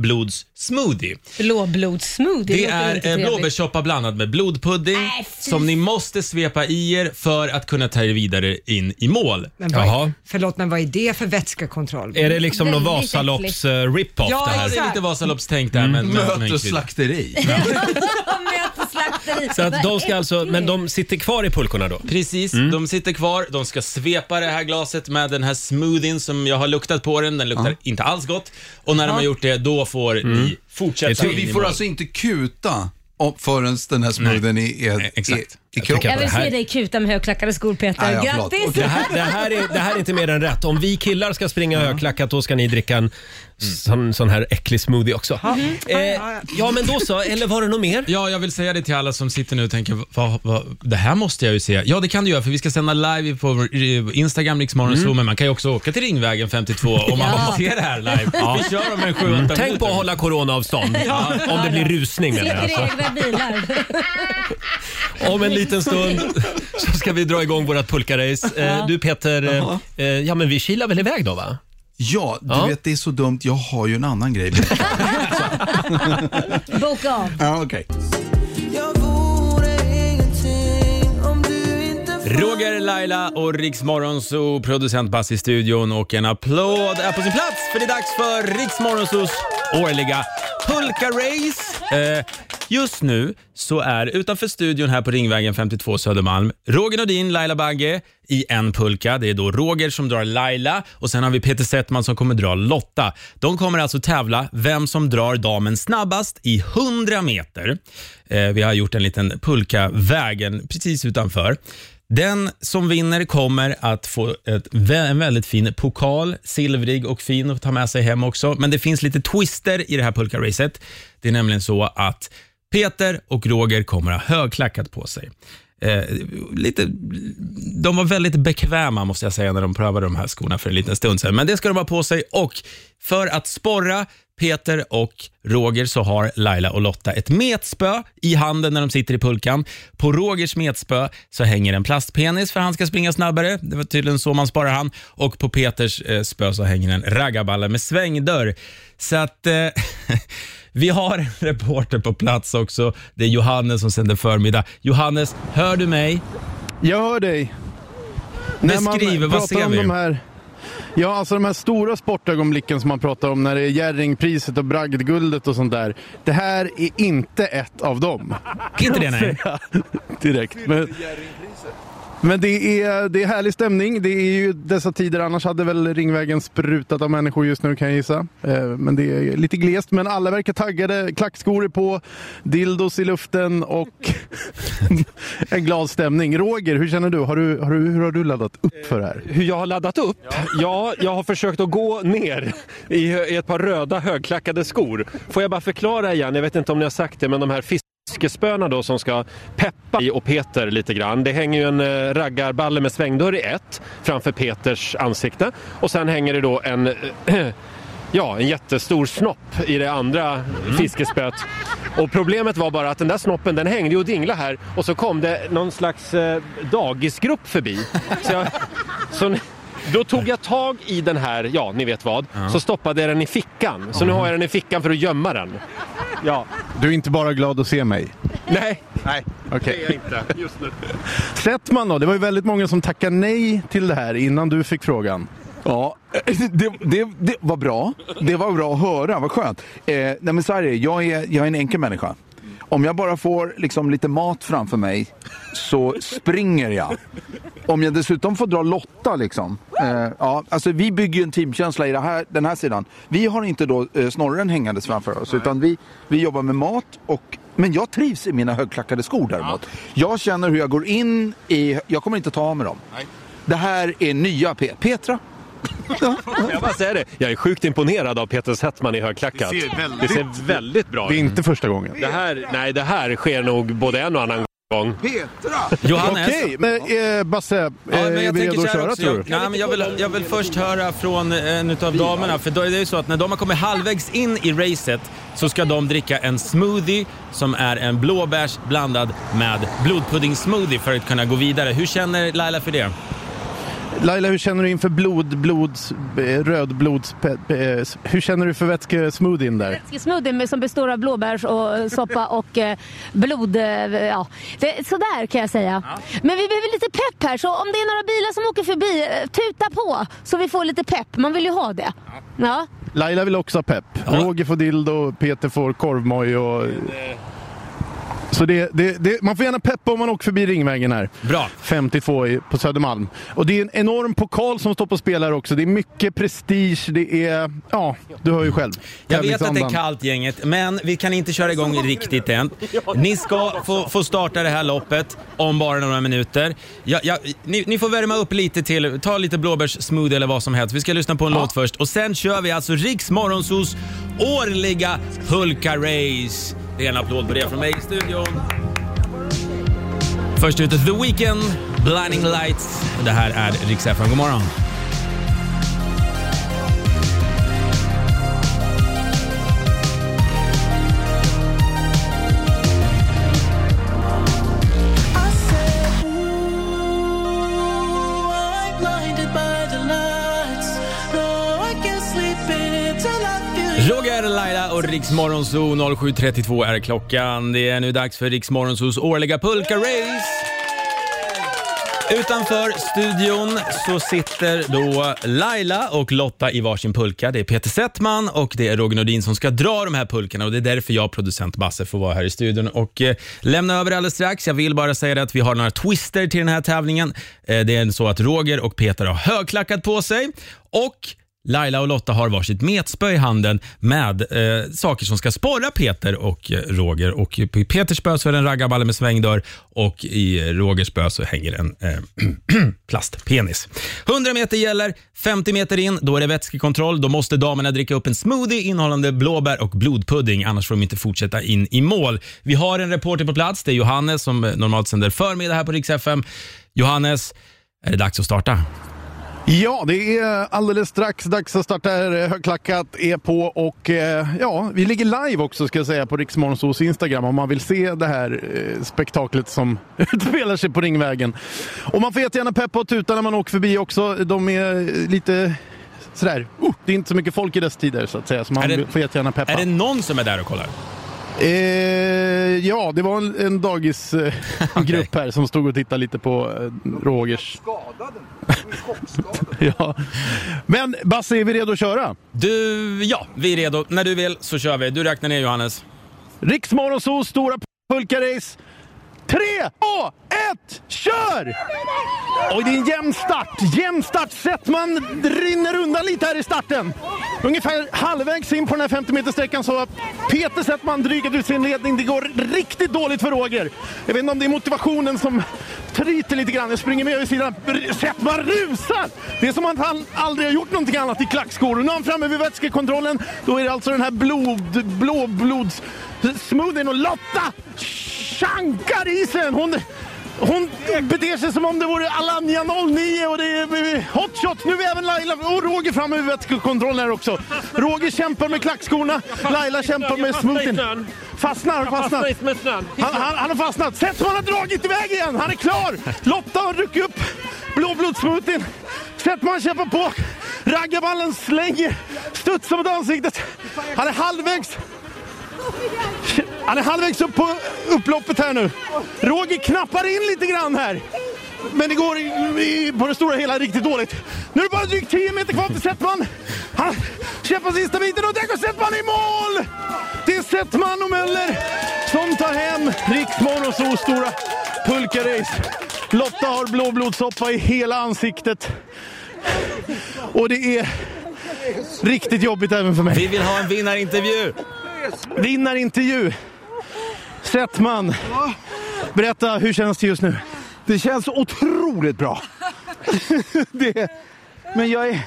blåblodssmoothie.
Blåblodssmoothie.
Det
låter inte
är eh,
trevligt.
blåbärssoppa blandad med blodpudding som ni måste svepa i er för att kunna ta er vidare in i mål.
Men vad, Förlåt, men vad är det för vätskekontroll?
Är det liksom någon Väldigt Vasalopps, äckligt.
Vasalops-rip-off
Ja,
det här.
exakt.
Det är lite Vasaloppstänk
Mm.
där. Men,
Möt
men-
och slakteri.
Slakteri.
Så att de ska alltså, men de sitter kvar i pulkorna då? Mm.
Precis, de sitter kvar, de ska svepa det här glaset med den här smoothien som jag har luktat på den. Den luktar inte alls gott. Och när de
Ja.
har gjort det, då får
Mm.
ni fortsätta
Så
in i
vi får
mål.
alltså inte kuta om- förrän den här smoothien är, är, är i kroppen.
Jag vill se dig kuta med högklackade skor Peter.
Ah, ja, förlåt.
Grattis!
Det här, det, här är, det här är inte mer än rätt. Om vi killar ska springa
Mm.
högklackat då ska ni dricka en sån, sån här äcklig smoothie också. Eh, ja men då så, eller var det något mer?
Ja, jag vill säga det till alla som sitter nu och tänker, vad, vad, det här måste jag ju se. Ja, det kan du göra för vi ska sända live på vår, eh, Instagram, Riksmorgon
Mm.
mm. men man kan ju också åka till Ringvägen 52 om man
Ja.
vill se det här live.
Ja.
Vi kör om en 7-8
Mm.
minuter.
Tänk på att hålla coronaavstånd
Ja.
om det blir rusning menar jag.
Sitter i
Alltså.
egna bilar.
Om en liten stund så ska vi dra igång vårt pulkarace. Eh, Du Peter, eh, eh, ja men vi kilar väl iväg då va?
Ja, du
Ja.
vet det är så dumt. Jag har ju en annan grej.
Boka av.
ja, okej.
Roger, Laila och Riksmorgonzoo, producent Bass i studion och en applåd är på sin plats för det är dags för Riksmorgonzoos årliga Pulka-race. Eh, just nu så är utanför studion här på Ringvägen 52 Södermalm Roger Nordin, Laila Bagge i en pulka. Det är då Roger som drar Laila och sen har vi Peter Settman som kommer dra Lotta. De kommer alltså tävla vem som drar damen snabbast i 100 meter. Eh, vi har gjort en liten pulka-vägen precis utanför. Den som vinner kommer att få ett, vä- en väldigt fin pokal, silvrig och fin att ta med sig hem också. Men det finns lite twister i det här pulkaracet. Det är nämligen så att Peter och Roger kommer att ha högklackat på sig. Eh, lite, de var väldigt bekväma måste jag säga när de prövade de här skorna för en liten stund sedan. Men det ska de ha på sig och för att sporra Peter och Roger så har Laila och Lotta ett metspö i handen när de sitter i pulkan. På Rogers metspö så hänger en plastpenis för han ska springa snabbare. Det var tydligen så man sparar han. Och på Peters eh, spö så hänger en raggarballe med svängdörr. Så att... Eh, Vi har en reporter på plats också. Det är Johannes som sänder förmiddag. Johannes, hör du mig?
Jag hör dig.
Beskriv, vad ser
om
vi?
De här, ja, alltså de här stora sportögonblicken som man pratar om när det är Jerringpriset och Bragdguldet och sånt där. Det här är inte ett av dem.
Inte det, nej.
Kan jag säga Direkt. Men, men det, är, det är härlig stämning. Det är ju dessa tider. Annars hade väl Ringvägen sprutat av människor just nu kan jag gissa. Eh, Men det är lite glest. Men alla verkar taggade. Klackskor är på, dildos i luften och en glad stämning. Roger, hur känner du? Har du, har du hur har du laddat upp för det här?
Hur jag har laddat upp? Ja, jag har försökt att gå ner i, hö- i ett par röda högklackade skor. Får jag bara förklara igen, jag vet inte om ni har sagt det, men de här fiskespöna då som ska peppa i och Peter lite grann. Det hänger ju en eh, raggarballe med svängdörr i ett framför Peters ansikte och sen hänger det då en eh, Ja, en jättestor snopp i det andra fiskespöet. Och problemet var bara att den där snoppen den hängde ju och dinglade här och så kom det någon slags eh, dagisgrupp förbi. Så jag, så, n- då tog jag tag i den här, ja ni vet vad, så stoppade jag den i fickan. Så nu har jag den i fickan för att gömma den. Ja.
Du är inte bara glad att se mig.
Nej.
Nej,
Okej. Det är jag inte just nu.
Settman då? Det var ju väldigt många som tackade nej till det här innan du fick frågan.
Ja, det, det, det var bra. Det var bra att höra, vad skönt. Eh, nej men så här är det, jag är, jag är en enkel människa. Om jag bara får liksom lite mat framför mig så springer jag. Om jag dessutom får dra Lotta liksom. Eh, ja, alltså vi bygger ju en teamkänsla i det här, den här sidan. Vi har inte då eh, snorren hängandes framför oss utan vi, vi jobbar med mat och men jag trivs i mina högklackade skor däremot. Jag känner hur jag går in i, jag kommer inte ta av mig dem. Det här är nya Pe- Petra.
Jag bara säger det. Jag är sjukt imponerad av Peter Settman i högklackat.
Det ser väldigt-
det ser väldigt bra ut.
Det är inte första gången.
Det här, nej, det här sker nog både en och annan gång.
Petra!
Johannes.
Okej,
Alltså,
men eh, Basse, eh, är vi redo att köra tror du?
jag, nej, men jag, vill, jag vill först höra från eh, en av damerna, för då är det ju så att när de har kommit halvvägs in i racet så ska de dricka en smoothie som är en blåbärs blandad med blodpudding-smoothie för att kunna gå vidare. Hur känner Laila för det?
Laila, hur känner du inför blod, blods, eh, rödblods... pe- pe- s- Hur känner du för vätskesmoothien där?
Smoothie med- som består av blåbärs och eh, soppa och eh, blod. eh, Ja. Det, sådär kan jag säga. Men vi behöver lite pepp här, så om det är några bilar som åker förbi, eh, tuta på så vi får lite pepp. Man vill ju ha det. Ja.
Laila vill också ha pepp. Roger får dildo, Peter får korvmoj och...
Eh,
Så det, det, det, man får gärna peppa om man åker förbi Ringvägen här.
Bra.
52 i, på Södermalm. Och det är en enorm pokal som står på spel här också. Det är mycket prestige. Det är... Ja, du hör ju själv.
Jag vet att det är
Tävlingsandan.
kallt gänget, men vi kan inte köra igång riktigt än. Ni ska få, få starta det här loppet om bara några minuter. Ja, ja, ni, ni får värma upp lite till, ta lite blåbärssmoothie eller vad som helst. Vi ska lyssna på en låt först och sen kör vi alltså Riks Morgonzos årliga pulka-race. Det är en applåd på det från mig i studion. Först ut The Weeknd, Blinding Lights. Det här är Rix FM. God morgon.
I said, ooh, I'm blinded by the lights. No, I can't sleep until I feel you.
Roger, Laila och Riks Morgonzoo 07.32 är klockan. Det är nu dags för Riks Morgonzoos årliga pulka-race. Utanför studion så sitter då Laila och Lotta i varsin pulka. Det är Peter Settman och det är Roger Nordin som ska dra de här pulkorna och det är därför jag, producent Basse, får vara här i studion och eh, lämna över alldeles strax. Jag vill bara säga det att vi har några twister till den här tävlingen. Eh, det är så att Roger och Peter har högklackat på sig och Laila och Lotta har varsitt metspö i handen med eh, saker som ska sporra Peter och eh, Roger. Och I Peters spö så är det en raggarballe med svängdörr och i eh, Rogers spö så hänger en eh, plastpenis. 100 meter gäller, 50 meter in, då är det vätskekontroll. Då måste damerna dricka upp en smoothie innehållande blåbär och blodpudding, annars får de inte fortsätta in i mål. Vi har en reporter på plats, det är Johannes som eh, normalt sänder förmiddag här på Rix FM. Johannes, är det dags att starta?
Ja, det är alldeles strax dags att starta här. Högklackat är på och eh, ja, vi ligger live också ska jag säga på Riksmorgonsos Instagram om man vill se det här eh, spektaklet som utspelar sig på Ringvägen. Och man får jättegärna peppa och tuta när man åker förbi också. De är eh, lite sådär, oh, det är inte så mycket folk i dess tider så att säga, så man
Är det-
får jättegärna peppa.
Är det någon som är där och kollar?
Eh, ja, det var en, en dagisgrupp eh, grupp här som stod och tittade lite på eh, Rogers. ja. Men Basse, är vi redo att köra?
Du, ja, vi är redo. När du vill så kör vi. Du räknar ner Johannes.
Riksmorgonsos stora pulkarace. Tre, två, ett, kör! Oj, det är en jämn start. Jämn start. Settman rinner undan lite här i starten. Ungefär halvvägs in på den här 50 metersträckan så har Peter Settman drygat ut sin ledning. Det går riktigt dåligt för Roger. Jag vet inte om det är motivationen som tryter lite grann. Jag springer med över sidan. R- Settman rusar! Det är som att han aldrig har gjort någonting annat i klackskor. Och nu är han framme vid vätskekontrollen. Då är det alltså den här blod, blåblods... smoothien och Lotta chankar i sig den. Hon hon beter sig som om det vore Alanya 09 och det är eh, hot shots. Nu är även Laila och Roger framme vid vätskekontrollen här också. Roger kämpar med klackskorna. Laila kämpar med smoothien. Fastnar, han fastnar. Han, han, han har fastnat. Settman har dragit iväg igen. Han är klar. Lotta har druckit upp blåblodssmoothien. Settman kämpar på. Raggarballen slänger. Studsar mot ansiktet. Han är halvvägs. Han är halvvägs upp på upploppet här nu. Roger knappar in lite grann här. Men det går i, i, på det stora hela riktigt dåligt. Nu är det bara drygt 10 meter kvar till Settman. Han kämpar sista biten och där går Settman i mål! Det är Settman och Möller som tar hem Riksmorgonsols stora pulkarace. Lotta har blåblodssoppa i hela ansiktet. Och det är riktigt jobbigt även för mig.
Vi vill ha en vinnarintervju.
Vinnarintervju. Settman, berätta, hur känns det just nu?
Det känns otroligt bra. det, men jag, är,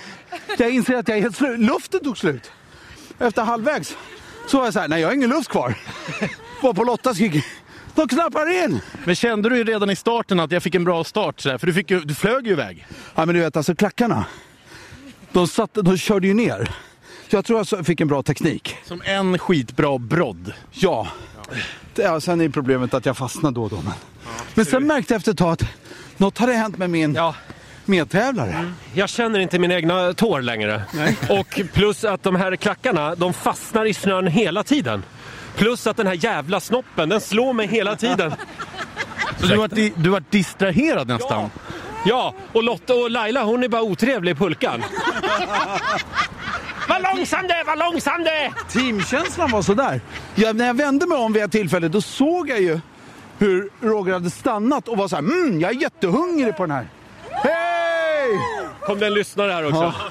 jag inser att jag är helt slut. Luften tog slut. Efter halvvägs så var jag så här, nej jag har ingen luft kvar. Var på Lotta skrek, de knappar in!
Men kände du ju redan i starten att jag fick en bra start? Så där? För du, fick ju, du flög ju iväg.
Ja men du vet alltså klackarna, de, satt, de körde ju ner. Så jag tror jag så- fick en bra teknik.
Som en skitbra brodd.
Ja. ja. Sen är problemet att jag fastnar då och då. Men, men sen märkte jag efter ett tag att något hade hänt med min medtävlare.
Mm.
Jag känner inte mina egna tår längre. Och plus att de här klackarna, de fastnar i snön hela tiden. Plus att den här jävla snoppen, den slår mig hela tiden.
Så du har varit di- du har varit distraherad nästan?
Ja, och Lotta och Laila hon är bara otrevlig i pulkan. Vad långsam du är, vad långsam du är!
Teamkänslan var sådär. Jag, när jag vände mig om vid ett tillfälle då såg jag ju hur Roger hade stannat och var såhär mm, jag är jättehungrig på den här. Hej!
Kom det en lyssnare här också?
Ja.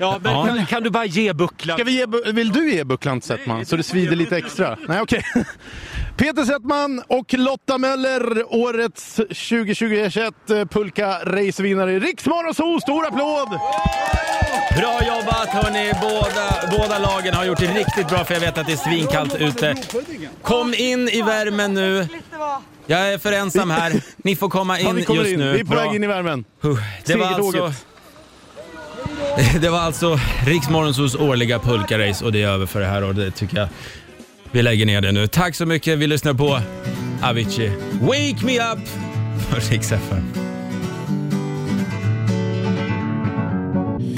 Ja, men Kan, kan du bara ge bucklan?
Ska vi ge, bu- vill du ge bucklan till Settman så det svider lite extra? Nej, okej. Peter Settman och Lotta Möller, årets 2021 Pulka Racevinnare. Riksmorgon så stor applåd!
Bra jobbat hörni, båda, båda lagen har gjort det riktigt bra för jag vet att det är svinkallt ute. Kom in i värmen nu. Jag är för ensam här. Ni får komma in
Ja, vi kommer
just
in.
nu.
Vi är på
Bra.
väg in i värmen.
Det var
Segertåget.
alltså... Det var alltså Riksmorgonsols årliga pulkarace och det är över för det här och det tycker jag vi lägger ner det nu. Tack så mycket, vi lyssnar på Avicii. Wake me up! På Rix FM.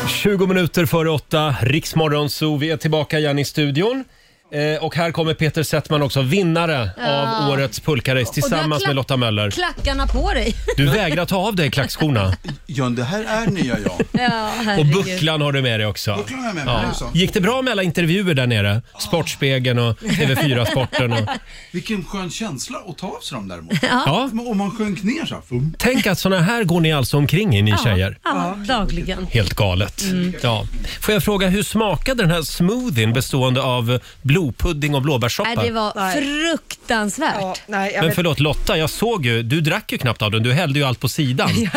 20 minuter före åtta, Riksmorgon Zoo. Vi är tillbaka igen i studion. Eh, och här kommer Peter Settman också, vinnare
Ja.
av årets pulkarace tillsammans
klack-
med Lotta Möller.
Klackarna på dig.
Du vägrar ta av dig klackskorna.
Ja, det här är nya jag.
Ja,
Och
herregud.
bucklan har du med dig också.
Bucklan har jag med mig, det är så.
Gick det bra med alla intervjuer där nere? Sportspegeln och TV4-sporten. Och...
Vilken skön känsla att ta av sig dem däremot.
Ja.
Om man sjönk ner så här. Fum.
Tänk att såna här går ni alltså omkring i, ni tjejer.
Ja, Mm. dagligen.
Helt galet. Ja. Får jag fråga, hur smakade den här smoothien bestående av blodpudding och blåbärssoppa?
Nej, det var fruktansvärt.
nej,
Men förlåt Lotta, jag såg ju, du drack ju knappt av den, du hällde ju allt på sidan.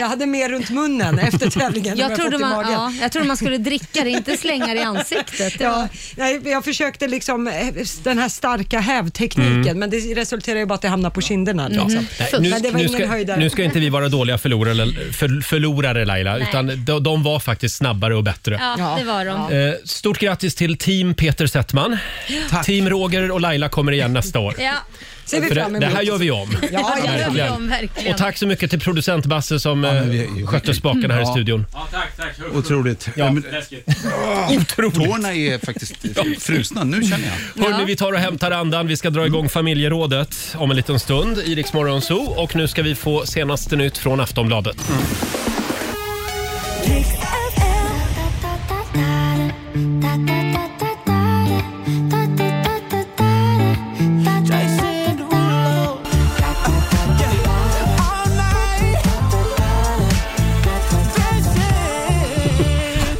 Jag hade mer runt munnen efter tävlingen. än vad
Jag trodde,
fått i
man,
magen.
ja, jag trodde man skulle dricka det, inte slänga det i ansiktet. Det
Ja,
var-
nej, jag försökte liksom eh, den här starka hävtekniken
Mm.
men det resulterar ju bara att det hamnar på kinderna.
Ja.
Liksom.
Nej,
Men det
nu,
var
nu,
ingen
ska,
höjdare.
nu ska inte vi vara dåliga förlorare, för, förlorare Laila,
Nej.
utan de, de var faktiskt snabbare och bättre.
Ja, det var de.
Eh, Stort grattis till team Peter Settman. Team Roger och Laila kommer igen nästa år.
Ja.
För det, det här gör vi om.
Ja, det gör vi
Verkligen.
om verkligen.
Och tack så mycket till producent Basse som eh, skötte spakarna här i
Ja.
studion.
Ja, tack, tack.
Otroligt.
Ja. Otroligt.
Tårna är faktiskt frusna. Nu känner jag.
Hörni, vi tar och hämtar andan. Vi ska dra igång familjerådet om en liten stund i Rix Morgon Zoo. Och nu ska vi få senaste nytt från Aftonbladet. Mm.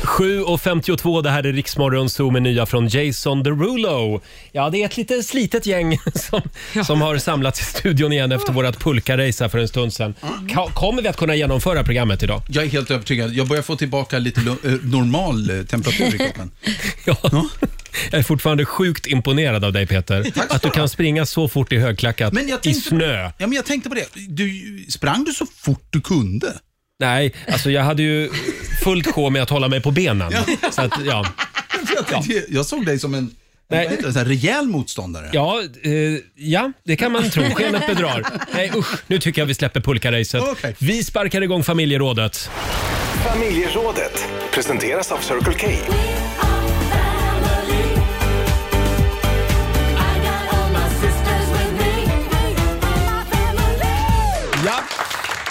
7.52, det här är Riksmorgon Zoo med nya från Jason Derulo. Ja, det är ett lite slitet gäng som, som har samlats i studion igen efter vårt pulka-race här för en stund sedan. Ka- Kommer vi att kunna genomföra programmet idag?
Jag är helt övertygad. Jag börjar få tillbaka lite lo- eh, normal eh, temperatur i kroppen.
Jag är fortfarande sjukt imponerad av dig Peter. Att du kan springa så fort i högklackat
Men jag
i
tänkte,
snö.
Ja, men jag tänkte på det. Du, sprang du så fort du kunde?
Nej, alltså jag hade ju fullt sjå med att hålla mig på benen. Så att, ja.
Jag, tänkte, jag såg dig som en, vad heter det, en sån här rejäl motståndare.
Ja, eh, ja, det kan man tro. Skenet bedrar. Nej usch, nu tycker jag vi släpper pulkaracet. Vi sparkar igång familjerådet.
Familjerådet presenteras av Circle K.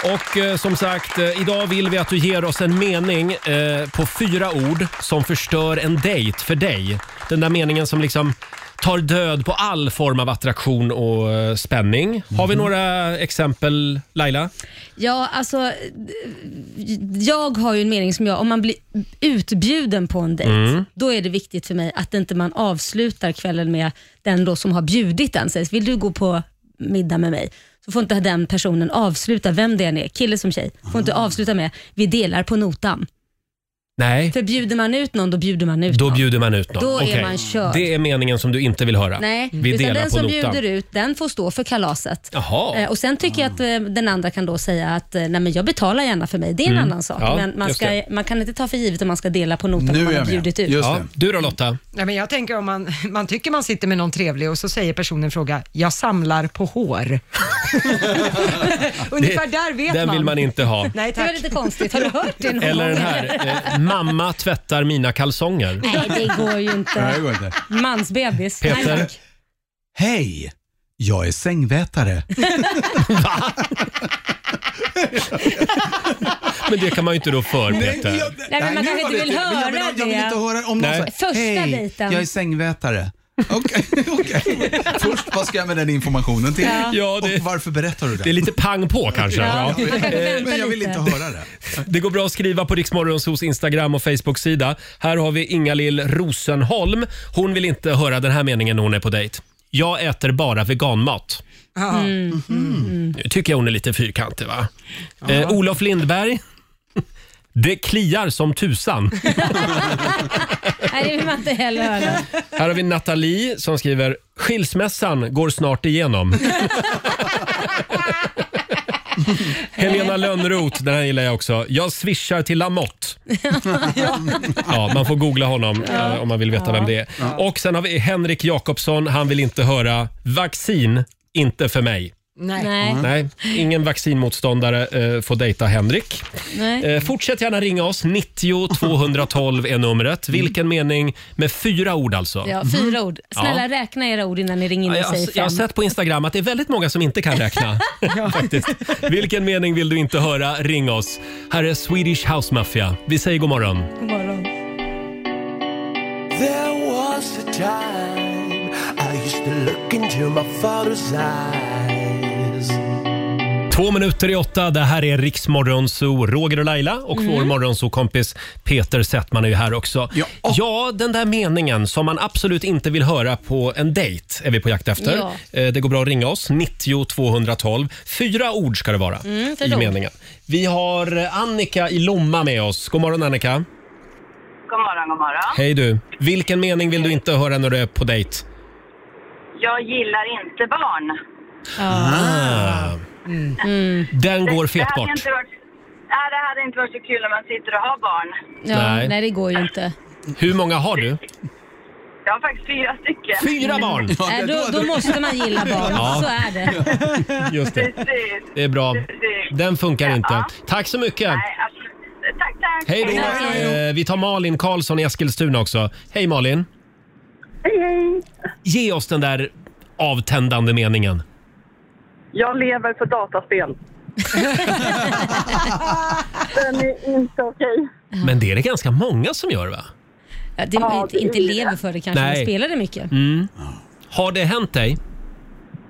Och eh, som sagt, eh, idag vill vi att du ger oss en mening eh, på fyra ord som förstör en dejt för dig. Den där meningen som liksom tar död på all form av attraktion och eh, spänning. Har vi
Mhm.
några exempel, Laila?
Ja, alltså, d- jag har ju en mening som jag, om man blir utbjuden på en dejt,
Mm.
då är det viktigt för mig att inte man avslutar kvällen med den då som har bjudit en. Sägs, vill du gå på middag med mig? Så får inte den personen avsluta, vem det än är, kille som tjej, får inte
Ah.
avsluta med, vi delar på notan.
Nej,
För bjuder man ut någon, då bjuder man ut
då
någon.
bjuder man ut någon.
Då är
Okej.
man körd.
Det är meningen som du inte vill höra.
Nej,
vi
utan
delar
den
på
som
notan.
bjuder ut, den får stå för kalaset.
Jaha.
Eh, och Sen tycker jag att eh, den andra kan då säga att eh, nej, men jag betalar gärna för mig. Det är en
Mm.
annan sak.
Ja,
men man,
just
ska,
det.
man kan inte ta för givet att man ska dela på notan om man har bjudit ut.
ja. Du då Lotta?
Nej, men jag tänker om man, man tycker man sitter med någon trevlig och så säger personen i fråga, jag samlar på hår. Ungefär där vet
den
man.
vill man inte ha.
Nej, tack.
Det var lite konstigt. Har du hört det någon
Eller
gång?
den här. Eh, mamma tvättar mina kalsonger.
Nej, det går ju inte.
Nej, det går inte.
Mansbebis.
Peter?
Nej, tack.
Hej! Jag är sängvätare.
Men det kan man ju inte rå för Peter.
Nej, men man
nu
kanske
var det
inte vill
fel. Men jag
höra
vill- Jag vill
det.
inte höra om någon
Nej.
säger
Första
Hej,
dejten."
jag är sängvätare. Okej, okej. Först, vad ska jag med den informationen till?
Ja. Ja,
Och varför berättar du det?
Det är lite pang på kanske.
Ja,
Ja.
jag vet.
Eh,
Men jag vill inte höra det.
Det går bra att skriva på Riksmorgonsos Instagram och Facebook-sida. Här har vi Inga-Lill Rosenholm. Hon vill inte höra den här meningen när hon är på dejt. Jag äter bara veganmat.
Mm, mm.
Nu tycker jag hon är lite fyrkantig va? Eh, Olof Lindberg. Det kliar som tusan.
Nej, det vill man inte heller höra.
Här har vi Nathalie som skriver Skilsmässan går snart igenom. Helena Lönnroth, den här gillar jag också. Jag swishar till Lamotte. Ja, man får googla honom eh, om man vill veta vem det är. Och sen har vi Henrik Jakobsson. Han vill inte höra vaccin, inte för mig. Mm.
Nej.
Nej, ingen vaccinmotståndare eh, får dejta Henrik.
Nej.
Eh, fortsätt gärna ringa oss. 90 212 är numret. Vilken mening med fyra ord alltså.
Mm. Ja, fyra ord. Snälla
Ja.
räkna era ord innan ni ringer in
Ja,
och
Jag,
säger
jag har
fem.
sett på Instagram att det är väldigt många som inte kan räkna. faktiskt. Vilken mening vill du inte höra? Ring oss. Här är Swedish House Mafia. Vi säger god morgon.
God morgon.
There was a time I used to look into my father's eyes.
Två minuter i åtta. Det här är Riksmorgon Zoo. Roger och Laila och
Mm.
vår morgonzoo-kompis Peter Settman är ju här också. Ja. den där meningen som man absolut inte vill höra på en dejt är vi på jakt efter.
Ja.
Eh, Det går bra att ringa oss. 90 212. Fyra ord ska det vara
Mm, fyra
i
ord.
meningen. Vi har eh, Annika i Lomma med oss. God morgon Annika.
God morgon, god morgon.
Hej du. Vilken mening vill du inte höra när du är på dejt?
Jag gillar inte barn.
Ah. Den går
Det
fet
hade
bort.
inte varit- Nej, det hade inte varit så kul om man sitter och har barn.
Ja,
Nej.
nej. det går ju inte.
Hur många har du?
Jag har faktiskt fyra stycken. Mm.
Fyra barn?
Nej, Äh, då, då måste man gilla barn.
Mm. Ja.
Så är det.
Just det.
Precis.
Det är bra. Den funkar inte. Tack så mycket.
Tack, tack.
Hej då. Eh, Vi tar Malin Karlsson i Eskilstuna också. Hej Malin.
Hej, hej.
Ge oss den där avtändande meningen.
Jag lever för dataspel. Den är inte okej.
Men det är det ganska många som gör va?
Ja, det,
Ja,
inte,
det är
inte
det.
lever för det kanske,
Nej.
men spelar det mycket.
Mm. Har det hänt dig?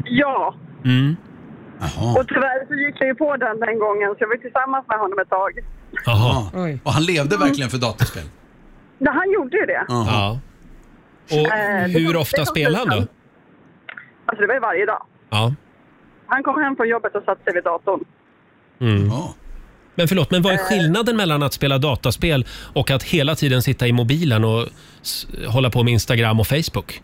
Ja,
Mm.
och tyvärr så gick jag ju på den den gången så jag var tillsammans med honom ett tag.
Jaha. Och han levde verkligen för datorspel.
Ja, han gjorde ju det.
Ja. Och
Eh, det
hur
var- det
ofta
var
spelar han då?
sant. Alltså det var ju varje dag.
Ja.
Han kom hem från jobbet och satte sig vid datorn.
Mm. Men förlåt, men vad är skillnaden mellan att spela dataspel och att hela tiden sitta i mobilen och s- hålla på med Instagram och Facebook?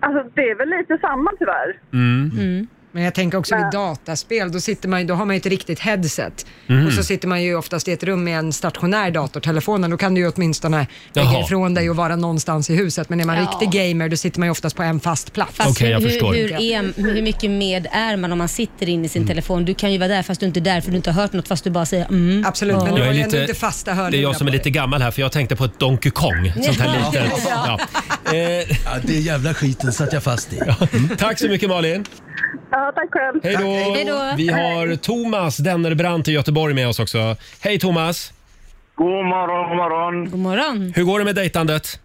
Alltså det är väl lite samma tyvärr.
Mm.
Men jag tänker också vid dataspel, då, sitter man, ju- då har man ju ett riktigt headset.
Mm.
Och så sitter man ju oftast i ett rum med en stationär dator, telefonen. Då kan du ju åtminstone lägga
Jaha.
ifrån dig och vara någonstans i huset. Men är man
Ja.
riktig gamer, då sitter man ju oftast på en fast plats.
Fast hur, Hur, är, hur mycket med är man om man sitter in i
Mm.
sin telefon? Du kan ju vara där fast du inte är där för du inte har hört något fast du bara säger mm.
Absolut, men
ja.
du har ju ändå inte fasta hörlurar
det är jag som är
på
lite gammal här för jag tänkte på ett Donkey Kong. Sånt här
Ja.
litet. Ja.
Ja.
Eh,
Ja, det jävla skiten satt jag fast i.
Tack så mycket Malin.
Ja, tack själv.
Hej då! Vi har Thomas Dennerbrandt i Göteborg med oss också. Hej Thomas!
God morgon, god morgon.
God morgon.
Hur går det med dejtandet?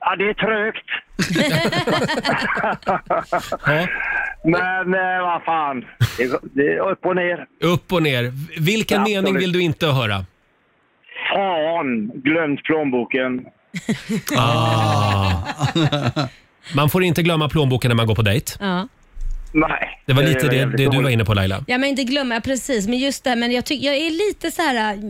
Ja, det är trögt. Men eh, vad fan, Det- det är upp och ner.
Upp och ner. Vilken
Ja,
mening
absolut.
vill du inte höra?
Fan, glömt plånboken.
Ah. Man får inte glömma plånboken när man går på dejt.
Ja.
Nej.
Det var
det
lite
var
det,
jävligt
det du var
dåligt.
inne på Laila.
Ja men inte glömma, precis. Men just det här, men jag, tycker jag är lite så här. äh,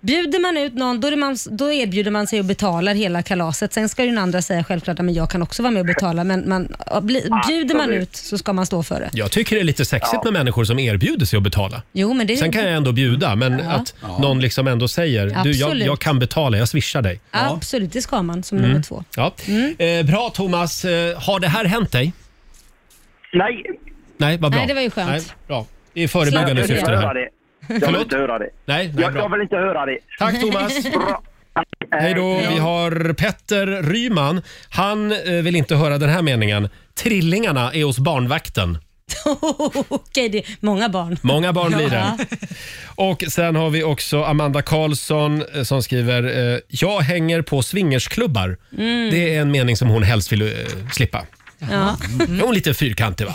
Bjuder man ut någon då, är det man, då erbjuder man sig och betalar hela kalaset. Sen ska ju den andra säga självklart att jag kan också vara med och betala. Men man, äh, bli, bjuder man
Absolut.
ut så ska man stå för det.
Jag tycker det är lite sexigt med människor som erbjuder sig att betala.
Jo, men det
Sen kan jag ändå bjuda, men
Ja.
att någon liksom ändå säger du, jag,
Absolut.
jag kan betala, jag swishar dig.
Absolut, det ska man som
Mm.
nummer två.
Ja. Eh, bra Thomas, eh, har det här hänt dig?
Nej.
Nej, vad bra.
Nej, det var ju skönt.
bra. I förebyggande
Jag vill
syfte
inte
det
höra
här.
det. Jag vill inte höra det.
Nej, nej
jag,
bra.
jag vill inte höra det.
Tack Thomas.
Bra.
Hej då. Vi har Petter Ryman. Han eh, vill inte höra den här meningen. Trillingarna är hos barnvakten.
Okej, det är många barn.
Många barn blir det.
Ja.
Och sen har vi också Amanda Karlsson eh, som skriver eh, “Jag hänger på swingersklubbar”.
Mm.
Det är en mening som hon helst vill eh, slippa.
Ja.
Mm. Är hon lite fyrkantig va?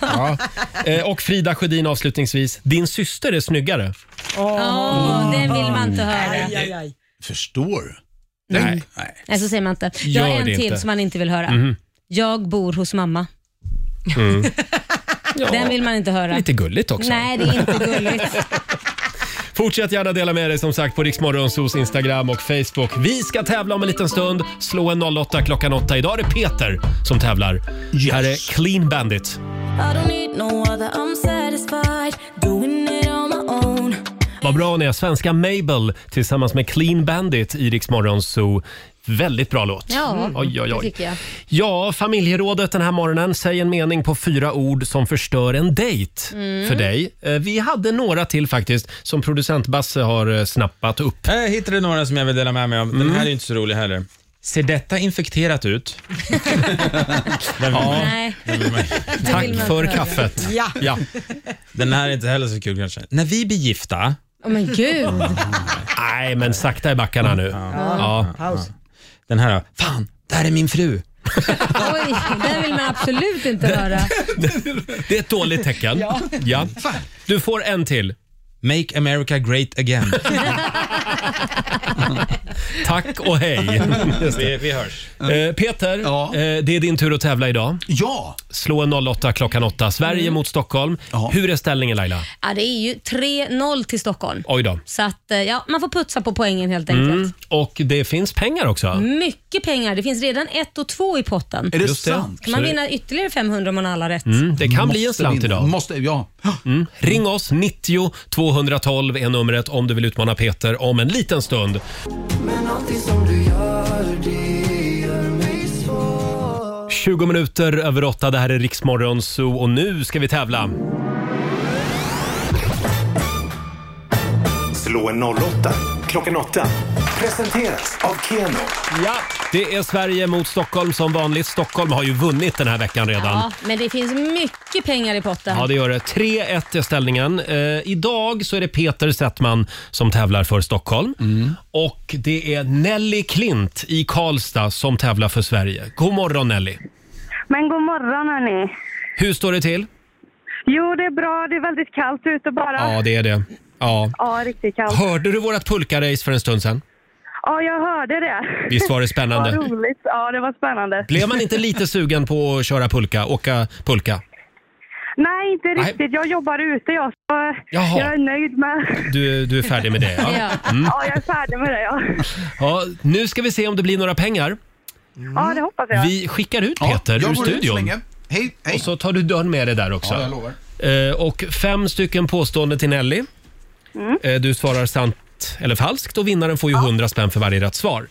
Ja. Eh, och Frida Sjödin avslutningsvis. “Din syster är snyggare”.
Åh, den vill man inte höra.
Aj, aj,
Förstår
Nej.
Nej, så säger man inte. Jag
Gör
har en
det
till
inte.
som man inte vill höra.
Mhm.
Jag bor hos mamma.
Mm.
Den vill man inte höra.
Lite gulligt också.
Nej, det är inte gulligt.
Fortsätt gärna dela med dig som sagt på Riksmorgonsos Instagram och Facebook. Vi ska tävla om en liten stund. Slå en 08 klockan 8. Idag är det Peter som tävlar. Här är Clean Bandit.
I don't need no other, I'm satisfied doing it on my own.
Vad bra ni är. Svenska Mabel tillsammans med Clean Bandit i Riksmorgonso. Väldigt bra låt. Mm.
Ja,
oj, oj,
det
oj.
tycker jag.
Ja, familjerådet den här morgonen. Säg en mening på fyra ord som förstör en dejt
Mm.
för dig. Eh, Vi hade några till faktiskt som producent Basse har eh, snappat upp.
Jag hittade några som jag vill dela med mig av. Den
Mm.
här är ju inte så rolig heller. Ser detta infekterat ut? Den vill man-
Nej.
den vill man-
Den vill man inte höra. Ja.
Den här är inte heller så kul kanske. När vi blir gifta.
Åh men gud.
Nej, men sakta i backarna nu.
Ja. Den här då. Fan, där är min fru.
Oj, den vill man absolut inte höra.
Det är ett dåligt tecken.
Ja.
Ja. Du får en till.
Make America great again.
Tack och hej. Just det.
vi, vi hörs.
Eh, Peter, eh, det är din tur att tävla idag.
Ja!
Slå en 08 klockan 8. Sverige
Mm.
mot Stockholm. Hur är ställningen Laila?
Ja, det är ju 3-0 till Stockholm.
Oj då.
Så att, eh, ja, man får putsa på poängen helt enkelt. Mm.
Mm. Och det finns pengar också.
Mycket pengar. Det finns redan ett och två i potten.
Är det Just det. sant?
Kan man
Så det-
vinna ytterligare 500 om man har alla rätt?
Mm, det kan bli en slant idag.
Måste, ja.
Mm. Ring oss, 90 212 är numret om du vill utmana Peter om en liten stund.
Men allting som du gör, det gör mig svår
20 minuter över 8, det här är Riksmorgon Zoo och nu ska vi tävla.
Slå en 08 klockan 8. Presenteras av Keno.
Ja, det är Sverige mot Stockholm som vanligt. Stockholm har ju vunnit den här veckan redan.
Ja, men det finns mycket pengar i potten.
Ja, det gör det. 3-1 är ställningen. Eh, idag så är det Peter Settman som tävlar för Stockholm. Och det är Nelly Klint i Karlstad som tävlar för Sverige. God morgon Nelly!
Men god morgon hörni.
Hur står det till?
Jo, det är bra. Det är väldigt kallt ute bara.
Ja, det är det. Ja.
Ja, riktigt kallt.
Hörde du vårt pulkarace för en stund sedan?
Ja, jag hörde det.
Visst var det spännande?
Ja, roligt. Ja, det var spännande.
Blev man inte lite sugen på att köra pulka, åka pulka?
Nej, inte riktigt. Jag jobbar ute jag. Så
Jaha.
jag är nöjd med...
Du, du är färdig med det?
Ja.
Mm.
ja, jag är färdig med det ja.
ja. Nu ska vi se om det blir några pengar.
Ja, det hoppas jag.
Vi skickar ut Peter
jag
ur
går ut så
studion.
länge. Hej,
Och så tar du dörren med dig där också.
Ja, jag lovar.
Eh, och fem stycken påståenden till Nelly.
Mm.
Eh, du svarar sant eller falskt och vinnaren får ju 100 spänn för varje rätt svar.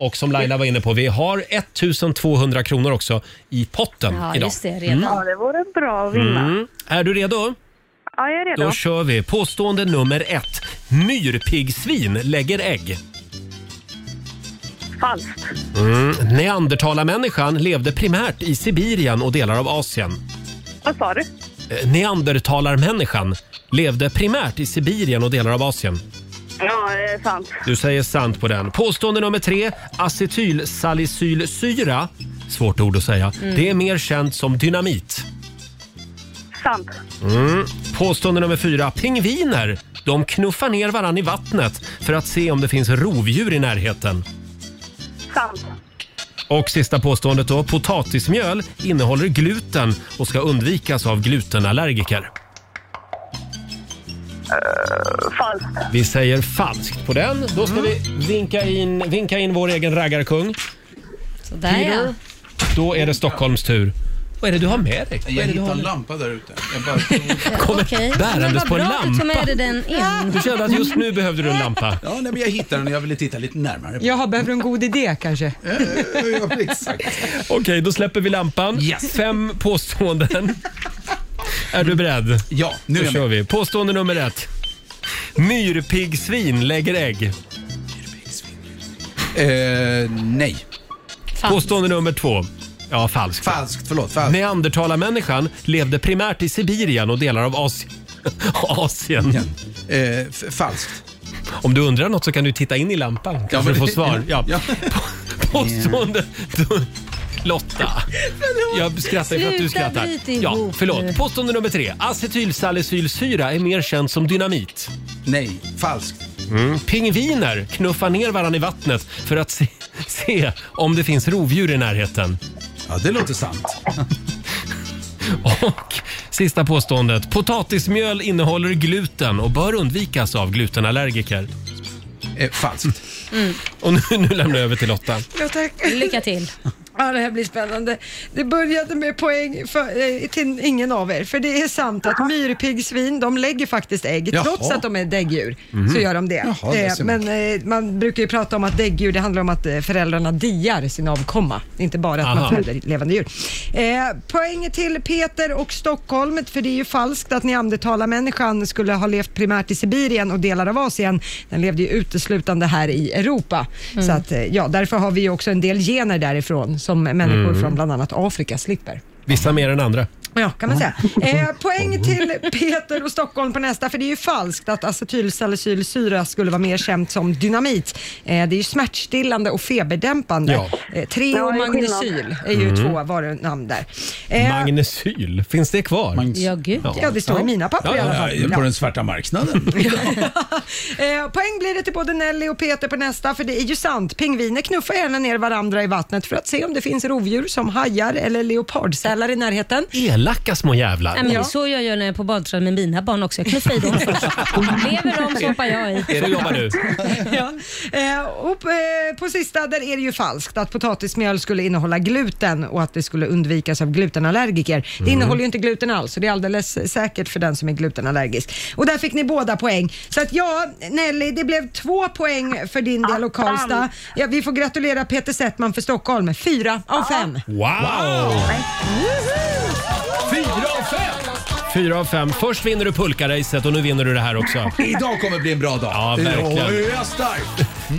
Och som Laila var inne på, vi har 1200 kronor också i potten
Ja,
idag.
just det. Redan. Mm. Ja, det vore bra att vinna.
Mm. Är du redo?
Ja, jag är redo.
Då kör vi. Påstående nummer ett. Myrpiggsvin lägger ägg.
Falskt.
Mm. Neandertalarmänniskan levde primärt i Sibirien och delar av Asien.
Vad sa du?
eh, neandertalarmänniskan levde primärt i Sibirien och delar av Asien?
Ja, det
eh,
är sant.
Du säger sant på den. Påstående nummer tre. Acetylsalicylsyra, svårt ord att säga,
Mm.
det är mer känt som dynamit.
Sant.
Mm. Påstående nummer fyra. Pingviner, de knuffar ner varann i vattnet för att se om det finns rovdjur i närheten.
Sant.
Och sista påståendet då. Potatismjöl innehåller gluten och ska undvikas av glutenallergiker.
falskt.
Vi säger falskt på den. Då ska vi vinka in, vinka in vår egen raggarkung.
Sådär ja.
Då är det Stockholms tur. Vad är det du har med dig? Vad
Jag
är det du
hittade
har
en
med?
lampa där ute.
Okej. Men
Bärandes
vad
på en
bra att du tog
lampa.
med dig den in.
Du kände att just nu behövde du en lampa.
Ja, nej, men jag hittade den och jag ville titta lite närmare.
Jaha, behöver du en god idé kanske?
Okej, då släpper vi lampan. Fem påståenden. Är du beredd? Ja,
nu är
då
jag
kör vi. Påstående nummer ett. Myrpiggsvin lägger ägg. Eh, nej. Påstående nummer två. Ja, falskt. Falskt, förlåt. Falskt. Neandertalarmänniskan levde primärt i Sibirien och delar av Asi- Asien. Eh, falskt. Om du undrar något så kan du titta in i lampan. Kanske
men
du får
det-
svar. Ja. Påstående... Lotta. Jag skrattar för att du
Sluta
skrattar.
bryt
Ja,
ihop nu.
förlåt. Påstående nummer tre. Acetylsalicylsyra är mer känd som dynamit. Nej, falskt. Mm. Pingviner knuffar ner varandra i vattnet för att se, se om det finns rovdjur i närheten. Ja, det låter sant. Och sista påståendet. Potatismjöl innehåller gluten och bör undvikas av glutenallergiker. Eh, falskt.
Mm.
Och nu, nu lämnar jag över till Lotta.
Ja, tack.
Lycka till.
Ja, det här blir spännande. Det började med poäng för, eh, till ingen av er, för det är sant att myrpiggsvin, de lägger faktiskt ägg.
Jaha.
Trots att de är däggdjur
Mhm.
så gör de det.
Jaha, det
Eh,
ser man.
men eh, man brukar ju prata om att däggdjur, det handlar om att eh, föräldrarna diar sin avkomma. Inte bara att
Aha.
man föder levande djur. Eh, poäng till Peter och Stockholm, för det är ju falskt att neandertalarmänniskan skulle ha levt primärt i Sibirien och delar av Asien. Den levde ju uteslutande här i Europa.
Mm.
Så att, eh, ja, därför har vi ju också en del gener därifrån som människor
Mm.
från bland annat Afrika slipper.
Vissa mer än andra.
Ja, kan man säga. Eh, poäng till Peter och Stockholm på nästa, för det är ju falskt att acetylsalicylsyra skulle vara mer känt som dynamit. Eh, det är ju smärtstillande och feberdämpande.
Ja.
Eh, Treo
Ja,
och
det är skillnad.
magnesyl är ju
Mm.
två varunamn där. Eh,
Magnesyl, finns det kvar?
Ja, gud, ja. Ja, det står i mina papper i alla fall.
På
Ja.
den svarta marknaden.
Eh, poäng blir det till både Nelly och Peter på nästa, för det är ju sant. Pingviner knuffar gärna ner varandra i vattnet för att se om det finns rovdjur som hajar eller leopardsälar i närheten.
Elaka små jävlar.
Nej, men det är så jag gör när jag är på badstrand med mina barn också. Jag knuffar i dem först. Lever de så hoppar jag i.
Så jobbar du.
ja. eh, och, eh, på sista där är det ju falskt att potatismjöl skulle innehålla gluten och att det skulle undvikas av glutenallergiker. Det
Mm.
innehåller ju inte gluten alls så det är alldeles säkert för den som är glutenallergisk. Och där fick ni båda poäng. Så att ja, Nelly, det blev två poäng för din del och Karlstad. Ja, vi får gratulera Peter Settman för Stockholm. Fyra av fem.
Wow! Fyra av fem! Fyra av fem. Först vinner du pulkaracet och nu vinner du det här också.
Idag kommer bli en bra dag.
Ja, verkligen.
Idag är jag stark.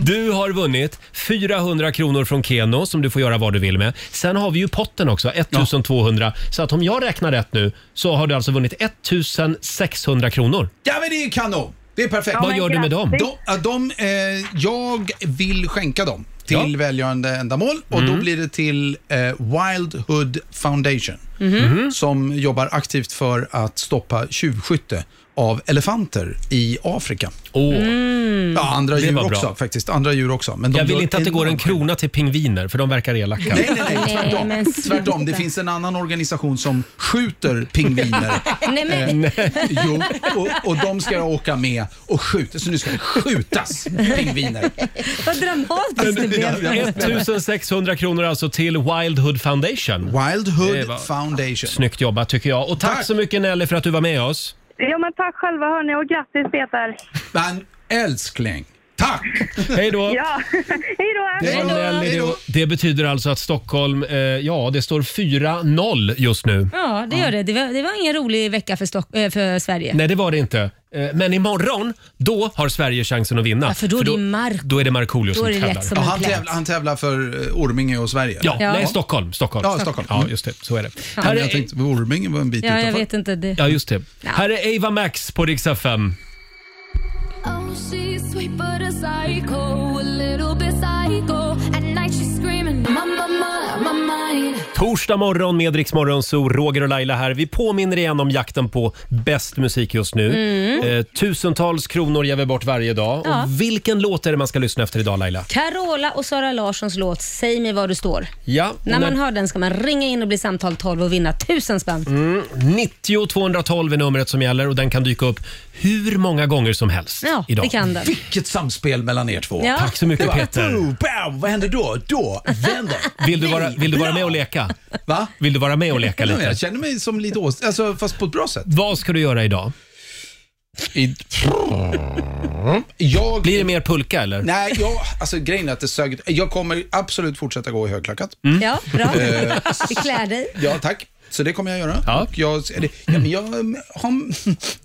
Du har vunnit 400 kronor från Keno som du får göra vad du vill med. Sen har vi ju potten också, 1200. Så att om jag räknar rätt nu så har du alltså vunnit 1600 kronor.
Ja, men det är ju kanon. Det är perfekt.
Ja, Vad men gör du med dem?
De, ja, de, eh, jag vill skänka dem till välgörande ändamål och då
Mm.
blir det till eh, Wildhood Foundation
Mhm. Mhm.
som jobbar aktivt för att stoppa tjuvskytte av elefanter i Afrika.
Åh. Mm.
Ja, andra
Det
djur
var bra.
också faktiskt. Andra djur också. Men de
Jag vill
gör
inte att det går en
enormt-
krona till pingviner för de verkar elaka.
Nej, nej, nej,
Nej,
tvärtom.
men sluta.
tvärtom. Det finns en annan organisation som skjuter pingviner
Nej, men,
Eh, jo, och, och de ska jag åka med och skjuta. Så nu ska det skjutas pingviner.
vad dramatiskt det blev.
1600 kronor alltså till Wildhood Foundation.
Wildhood
Det var-
Foundation.
Snyggt jobbat tycker jag. Och tack, så mycket Nelly för att du var med oss.
Ja, men tack själva hörni och grattis Peter.
Men älskling, tack!
Hej då!
Ja, hej då!
Det, var Nelly, det, det betyder alltså att Stockholm, eh, ja det står 4-0 just nu.
Ja, det gör det. Det var, det var ingen rolig vecka för, Stock- eh, för Sverige.
Nej det var det inte. Eh, Eh, Men imorgon, då har Sverige chansen att vinna.
Ja, för då är det Marko.
Då är det Markoolio
Då är
som
det lätt
tävlar.
som en Ja, han plätt. tävlar-
Han tävlar för eh, Orminge och Sverige.
Ja, nej, Stockholm. Stockholm.
Ja, Stockholm.
Ja, just det. Så är det.
Ja.
Här
Men jag
är-
tänkte, Orminge var en bit
Ja, jag
utanför.
vet inte. Det.
Ja, just det. Här är Ava Max på Rix FM.
Oh, she's sweet but a psycho, a little bit psycho. At night she's screaming, Mama, my mind.
Torsdag morgon med Rix Morgon, så Roger och Laila här. Vi påminner igen om jakten på bäst musik just nu.
Mm.
Eh, tusentals kronor ger vi bort varje dag.
Ja.
Och vilken låt är det man ska lyssna efter idag Laila?
Carola och Sara Larssons låt Säg mig var du står.
Ja, och
När man hör den ska man ringa in och bli samtal 12 och vinna 1000 spänn.
Mm, 90 212 är numret som gäller och den kan dyka upp hur många gånger som helst
Ja,
idag.
det kan den.
Vilket samspel mellan er två.
Ja.
Tack så mycket,
Det var-
Peter.
Boom, bam, vad händer då? Då vänder.
Vill du vara, vill du vara med och leka?
Va?
Vill du vara med och leka lite?
Jag känner mig som lite ås... Alltså, fast på ett bra sätt.
Vad ska du göra idag?
Jag...
Blir det mer pulka eller?
Nej, jag, alltså grejen är att det sög, jag kommer absolut fortsätta gå i högklackat.
Mm. Ja, bra.
Eh,
Vi klär dig.
Ja, tack. Så det kommer jag göra. Och jag, eller, ja, men jag har, nu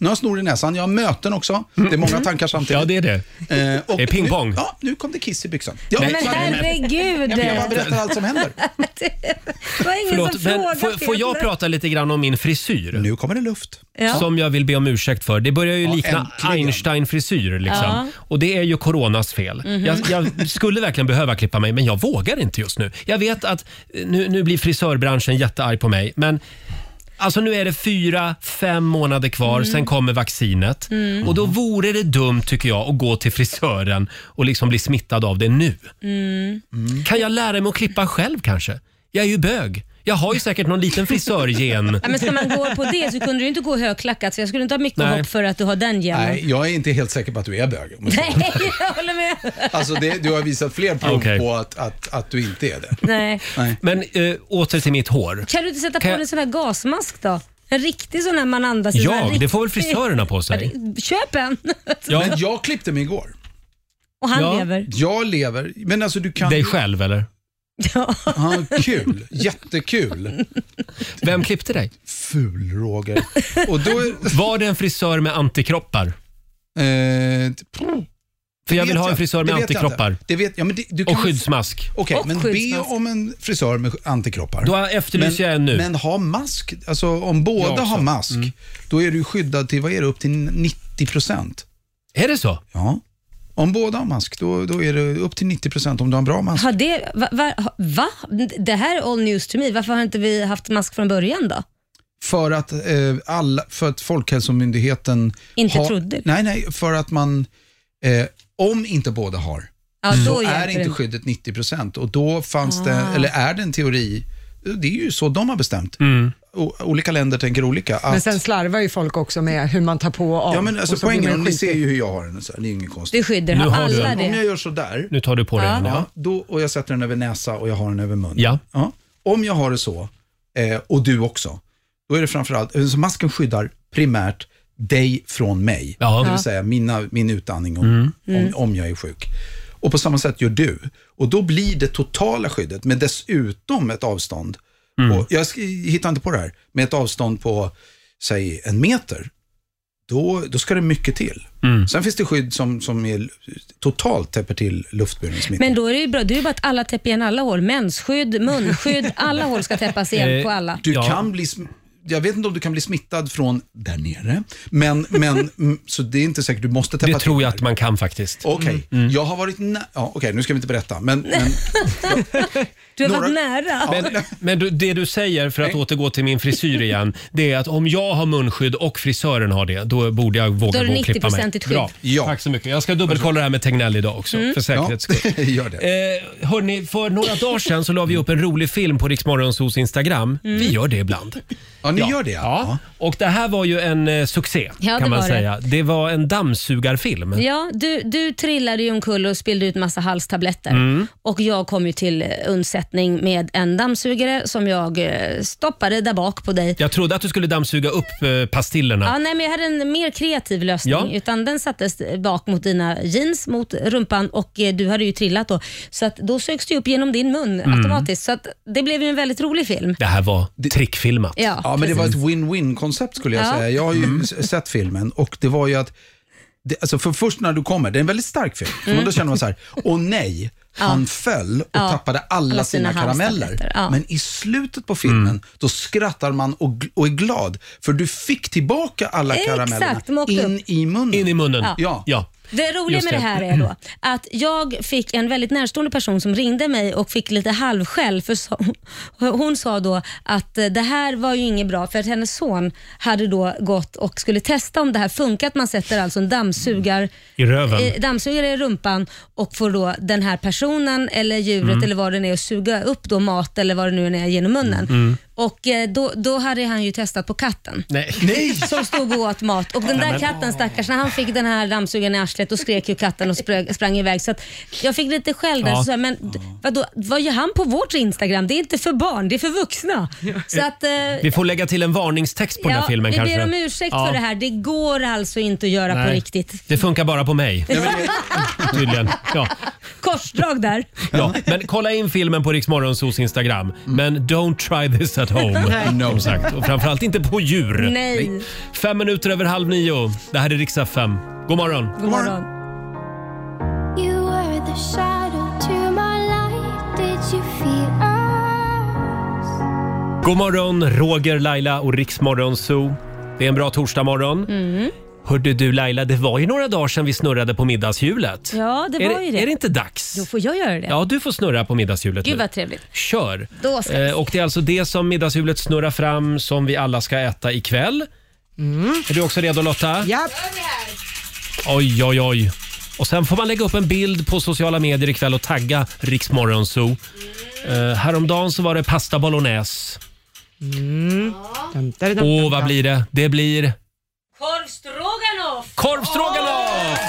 har jag snor i näsan, jag har möten också. Det är många tankar samtidigt.
Mm. Ja, det är det.
Eh, och
Det är pingpong.
Nu, ja, nu kom det kiss i byxan. Ja,
Nej,
så-
Men herregud.
Ja, men jag bara berättar allt som händer.
Det var ingen
Förlåt,
som
men
frågade
får, får jag
Peter.
prata lite grann om min frisyr?
Nu kommer det luft.
Ja.
Som jag vill be om ursäkt för. Det börjar ju likna
äntligen.
Einstein-frisyr. Liksom.
Ja.
Och det är ju coronas fel.
Mhm.
jag, jag skulle verkligen behöva klippa mig, men jag vågar inte just nu. Jag vet att eh, nu, nu blir frisörbranschen jättearg på mig, men Alltså nu är det fyra, fem månader kvar,
Mm.
sen kommer vaccinet.
Mm.
Och då vore det dumt tycker jag att gå till frisören och liksom bli smittad av det nu.
Mm.
Kan jag lära mig att klippa själv kanske? Jag är ju bög. Jag har ju säkert någon liten frisörgen.
Ja, men ska man gå på det så kunde du inte gå högklackat så jag skulle inte ha mycket
Nej.
hopp för att du har den genen.
Nej, jag är inte helt säker på att du är bög. om jag ska-
Nej, jag håller med.
Alltså, det, du har visat fler prov
Okej.
på att, att, att du inte är det.
Nej.
Men eh, åter till mitt hår.
Kan du inte sätta på
Kan
dig
jag-
en sån här gasmask då? En riktig sån här man andas i. sån här
Jag? Det får väl
riktig-
frisörerna på
Ja,
sig?
det- Köp en!
Men jag klippte mig igår.
Och han lever.
Jag lever. Men alltså du kan...
Dig själv eller?
Ja, kul. Jättekul.
Vem klippte dig?
Ful Roger. Och då...
Var det en frisör med antikroppar?
Eh,
För jag
det
vill
vet
ha en frisör med
Det vet jag
antikroppar.
inte. Det vet, ja, men det, du kan
Och skyddsmask.
Okej,
Och
men be
skyddsmask.
om en frisör med antikroppar.
Då efterlyser
men,
jag en nu.
Men ha mask. Alltså, om
Jag också. Mm.
båda har mask, då är du skyddad till, vad är det, upp till 90 procent.
Är det så?
Ja. Om båda har mask, då, då är det upp till 90 procent om du har en bra mask.
Har det, va, va, ha- va? Det här är all news to me. Varför har inte vi haft mask från början då?
För att, eh, alla, för att Folkhälsomyndigheten...
Inte trodde.
Nej, nej, för att man... Eh, om inte båda har,
Ja,
så
då hjälper
är inte
det.
skyddet 90 procent. Och då fanns det,
Ah.
eller är det en teori, det är ju så de har bestämt. O, olika länder tänker olika. Att,
Men sen slarvar ju folk också med hur man tar på och av.
ja, men alltså,
och så blir
poängen, är,
man
ni
skitig.
ser ju hur jag har den, så här, det är ju inget konstigt.
Du skyddar, har alla
Om jag
det?
gör sådär,
Nu tar du på dig
Ja.
den.
ja,
Ja.
då, och jag sätter den över näsa och jag har den över mun.
Ja.
Ja. Om jag har det så, eh, och du också, då är det framförallt, eh, så masken skyddar primärt dig från mig.
Ja.
Det
Ja.
vill säga mina, min utandning om, om, om jag är sjuk. Och på samma sätt gör du. Och då blir det totala skyddet, men dessutom ett avstånd.
Mm.
På, jag sk- hittar inte på det här, med ett avstånd på, säg en meter. Då, då ska det mycket till.
Mm.
Sen finns det skydd som, som är, totalt täpper till luftburen smitta.
Men då är det ju bra. Det är ju bara att alla täpper igen alla hål. Mensskydd, munskydd, alla hål ska täppas igen
Eh,
på alla.
Du kan bli, sm- jag vet inte om du kan bli smittad från där nere, men, men mm, så det är inte säkert, du måste täppa
Det tror
till
jag
där.
att man kan faktiskt. Mm.
Okej, jag har varit nä- ja, Okej, nu ska vi inte berätta, men, men
Du har
några-
varit nära.
Men, men du, det du säger, för att återgå till min frisyr igen, det är att om jag har munskydd och frisören har det, då borde jag
Då
våga
är det
gå och klippa mig.
90% skydd.
Bra. Tack så mycket. Jag ska dubbelkolla det här med Tegnell idag också,
Mm.
för säkerhets skull.
gör det.
Eh, hörni, för några dagar sedan så la vi upp en rolig film på Riksmorgonsos Instagram.
Mm.
Vi gör det ibland.
Ja, ni gör det. Ja.
Och det här var ju en eh, succé
Ja,
kan
det
man
var det.
säga. Det. var en dammsugarfilm.
Ja, du, du trillade ju omkull och spillde ut massa halstabletter.
Mm.
Och jag kom ju till eh, undsättning med en dammsugare som jag eh, stoppade där bak på dig.
Jag trodde att du skulle dammsuga upp eh, pastillerna.
Ja, nej, men jag hade en mer kreativ lösning.
Ja.
Utan Den sattes eh, bak mot dina jeans, mot rumpan och eh, du hade ju trillat då. Så att då sögs det upp genom din mun
Mm.
automatiskt. Så att det blev ju en väldigt rolig film.
Det här var trickfilmat.
Ja. Ja,
men det var ett
precis.
win-win-koncept skulle jag
Ja.
säga. Jag har ju
Mm.
s- sett filmen och det var ju att, det, alltså för först när du kommer, det är en väldigt stark film,
Mm.
men då känner man så här, åh nej, han
Ja.
föll och
Ja.
tappade alla,
Alla
sina,
sina
karameller.
halstabletter, ja.
Men i slutet på filmen, då skrattar man och, gl- och är glad, för du fick tillbaka alla
Exakt,
karamellerna
de åkte
in
upp.
i munnen. In i
munnen,
Ja.
ja.
Det roliga
Just
med det.
det.
här är då att jag fick en väldigt närstående person som ringde mig och fick lite halvskäll för så, hon sa då att eh, det här var ju inget bra för att hennes son hade då gått och skulle testa om det här funkar att man sätter alltså en dammsugar
I röven.
eh, dammsugare i rumpan och får då den här personen eller djuret
Mm.
eller vad det nu är att suga upp då mat eller vad det nu än är genom munnen.
Mm.
Och eh, då, då hade han ju testat på katten.
Nej.
Som stod och åt mat. Och den
Nej,
där
men-
katten stackars, när han fick den här dammsugaren i arslet då skrek ju katten och sprög, sprang iväg. Så att jag fick lite skäll där.
Ja.
Så sa jag, men d- vadå, vad gör han på vårt Instagram? Det är inte för barn, det är för vuxna. Så att, eh,
Vi får lägga till en varningstext på den
ja,
här filmen
vi
kanske.
ber om ursäkt
Ja.
för det här. Det går alltså inte att göra på
Nej.
riktigt.
Det funkar bara på mig. Tydligen. Ja.
Korsdrag där.
Ja. Men kolla in filmen på Riksmorgonsos Instagram. Men don't try this at home.
Nej.
Som sagt. Och framförallt inte på djur.
Nej.
Fem minuter över halv nio. Det här är Riksdag 5. God morgon.
God morgon.
You were the shadow to my light. Did you feel us?
God morgon, Roger, Laila och Riksmorgon Zoo. Det är en bra torsdagmorgon.
Mm.
Hörde du Laila, det var ju några dagar sedan vi snurrade på middagshjulet.
Ja, det
är
var ju det.
Är det inte dags?
Då får jag göra det.
Ja, du får snurra på middagshjulet
Gud
nu.
vad trevligt.
Kör!
Då ska
Eh, och det är alltså det som middagshjulet snurrar fram som vi alla ska äta ikväll.
Mm.
Är du också redo Lotta?
Ja.
Oj, oj, oj. Och sen får man lägga upp en bild på sociala medier ikväll och tagga Riksmorgonzoo. Eh, häromdagen så var det pasta bolognese.
Mm.
Åh, vad blir det? Det blir
Korv stroganoff!
korv stroganoff!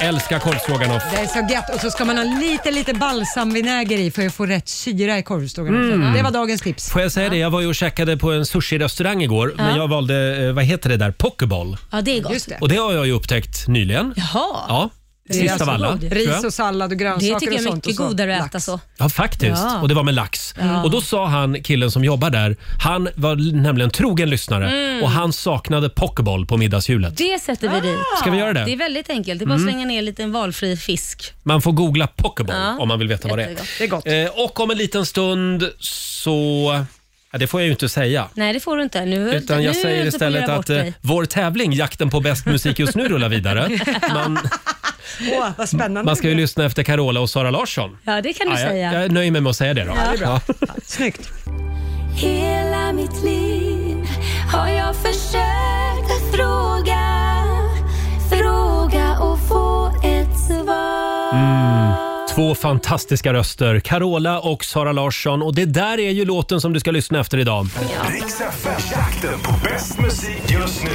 Älskar korv stroganoff.
Det är så gött och så ska man ha lite, lite balsamvinäger i för att få rätt syra i korvstågen.
Mm.
Det var dagens tips.
Får jag säga det? Jag var ju och käkade på en sushi-restaurang igår,
Ja.
men jag valde, eh, vad heter det där, pokeball.
Ja, det är gott.
Och det har jag ju upptäckt nyligen.
Jaha.
Ja,
Det är
sist
alltså
av alla.
god.
tror jag.
Ris och sallad och grönsaker
Det tycker jag är
och sånt.
mycket
och så.
godare att äta så.
Ja, faktiskt.
Ja.
Och det var med lax.
Ja.
Och då sa han, killen som jobbar där, han var l- nämligen trogen lyssnare
Mm.
och han saknade pokeball på middagshjulet.
Det sätter vi dit.
Ska vi göra det?
Det är väldigt enkelt. Det är bara att
Mm.
slänga ner lite en valfri fisk.
Man får googla pokeball
Ja.
om man vill veta vad det är.
Jättegott.
Det är gott. Eh, och om en liten stund så... Ja, det får jag ju inte säga.
Nej, det får du inte. Nu,
Utan
nu
jag säger
höll du på
istället
göra
att
bort
eh,
dig.
vår tävling, Jakten på bäst musik just nu, rullar vidare. eh, Man,
Åh, vad spännande.
man ska ju lyssna efter Carola och Sara Larsson.
Ja, det kan du
Ja, jag,
säga.
jag är nöjd med att säga det då.
Ja, det är bra.
Snyggt.
Hela mitt liv har jag försökt att fråga, fråga och få ett svar.
Mm. Två fantastiska röster, Carola och Sara Larsson. Och det där är ju låten som du ska lyssna efter idag.
Riks FM, jakten på bäst musik just nu.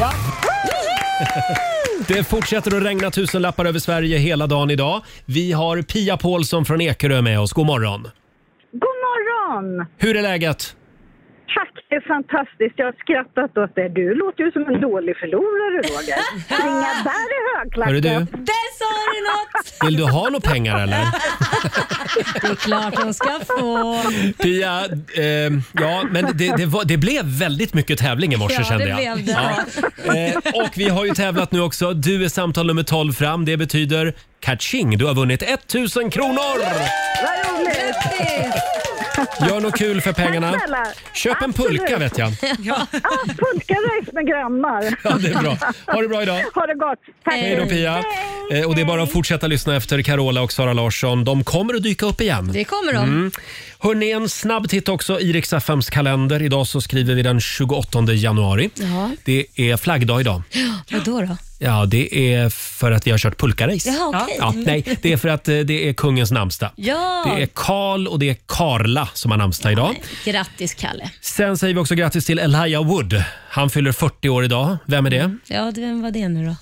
Ja. Det fortsätter att regna tusenlappar över Sverige hela dagen idag. Vi har Pia Paulsson från Ekerö med oss. God morgon!
God morgon!
Hur är läget?
Tack, det är fantastiskt. Jag har skrattat åt det. Du låter ju som en dålig förlorare, Roger. Springa där i
Hörru
högklackat.
du.
Där sa du något!
Vill du ha några pengar eller?
Det är klart hon ska få.
Pia, ehm, ja men det, det, var, det blev väldigt mycket tävling i morse
Ja,
kände
det
jag.
blev det.
Ja. Eh, och vi har ju tävlat nu också. Du är samtal nummer 12 fram. Det betyder catching. Du har vunnit 1000 kronor!
Vad roligt!
Gör något kul för pengarna.
Tack snälla.
Köp en pulka
Absolut.
vet jag.
Ja, pulkaräs med grannar.
Ja, det är bra. Ha det bra idag.
Ha det gott. Tack.
Hej då Pia. Eh, Och det är bara att fortsätta lyssna efter Carola och Sara Larsson. De kommer att dyka upp igen. Mm.
Det kommer de.
Hörrni, en snabb titt också i Rix FMs kalender. Idag så skriver vi den 28 januari.
Ja.
Det är flaggdag idag.
Vadå då?
Ja, det är för att vi har kört pulkarace.
Jaha, okej.
ja, nej, det är för att eh, det är kungens namnsdag.
Ja.
Det är Karl och det är Karla som har namnsdag idag.
Grattis Kalle.
Sen säger vi också grattis till Elijah Wood. Han fyller 40 år idag. Vem är det?
Ja, det- vem var det nu då?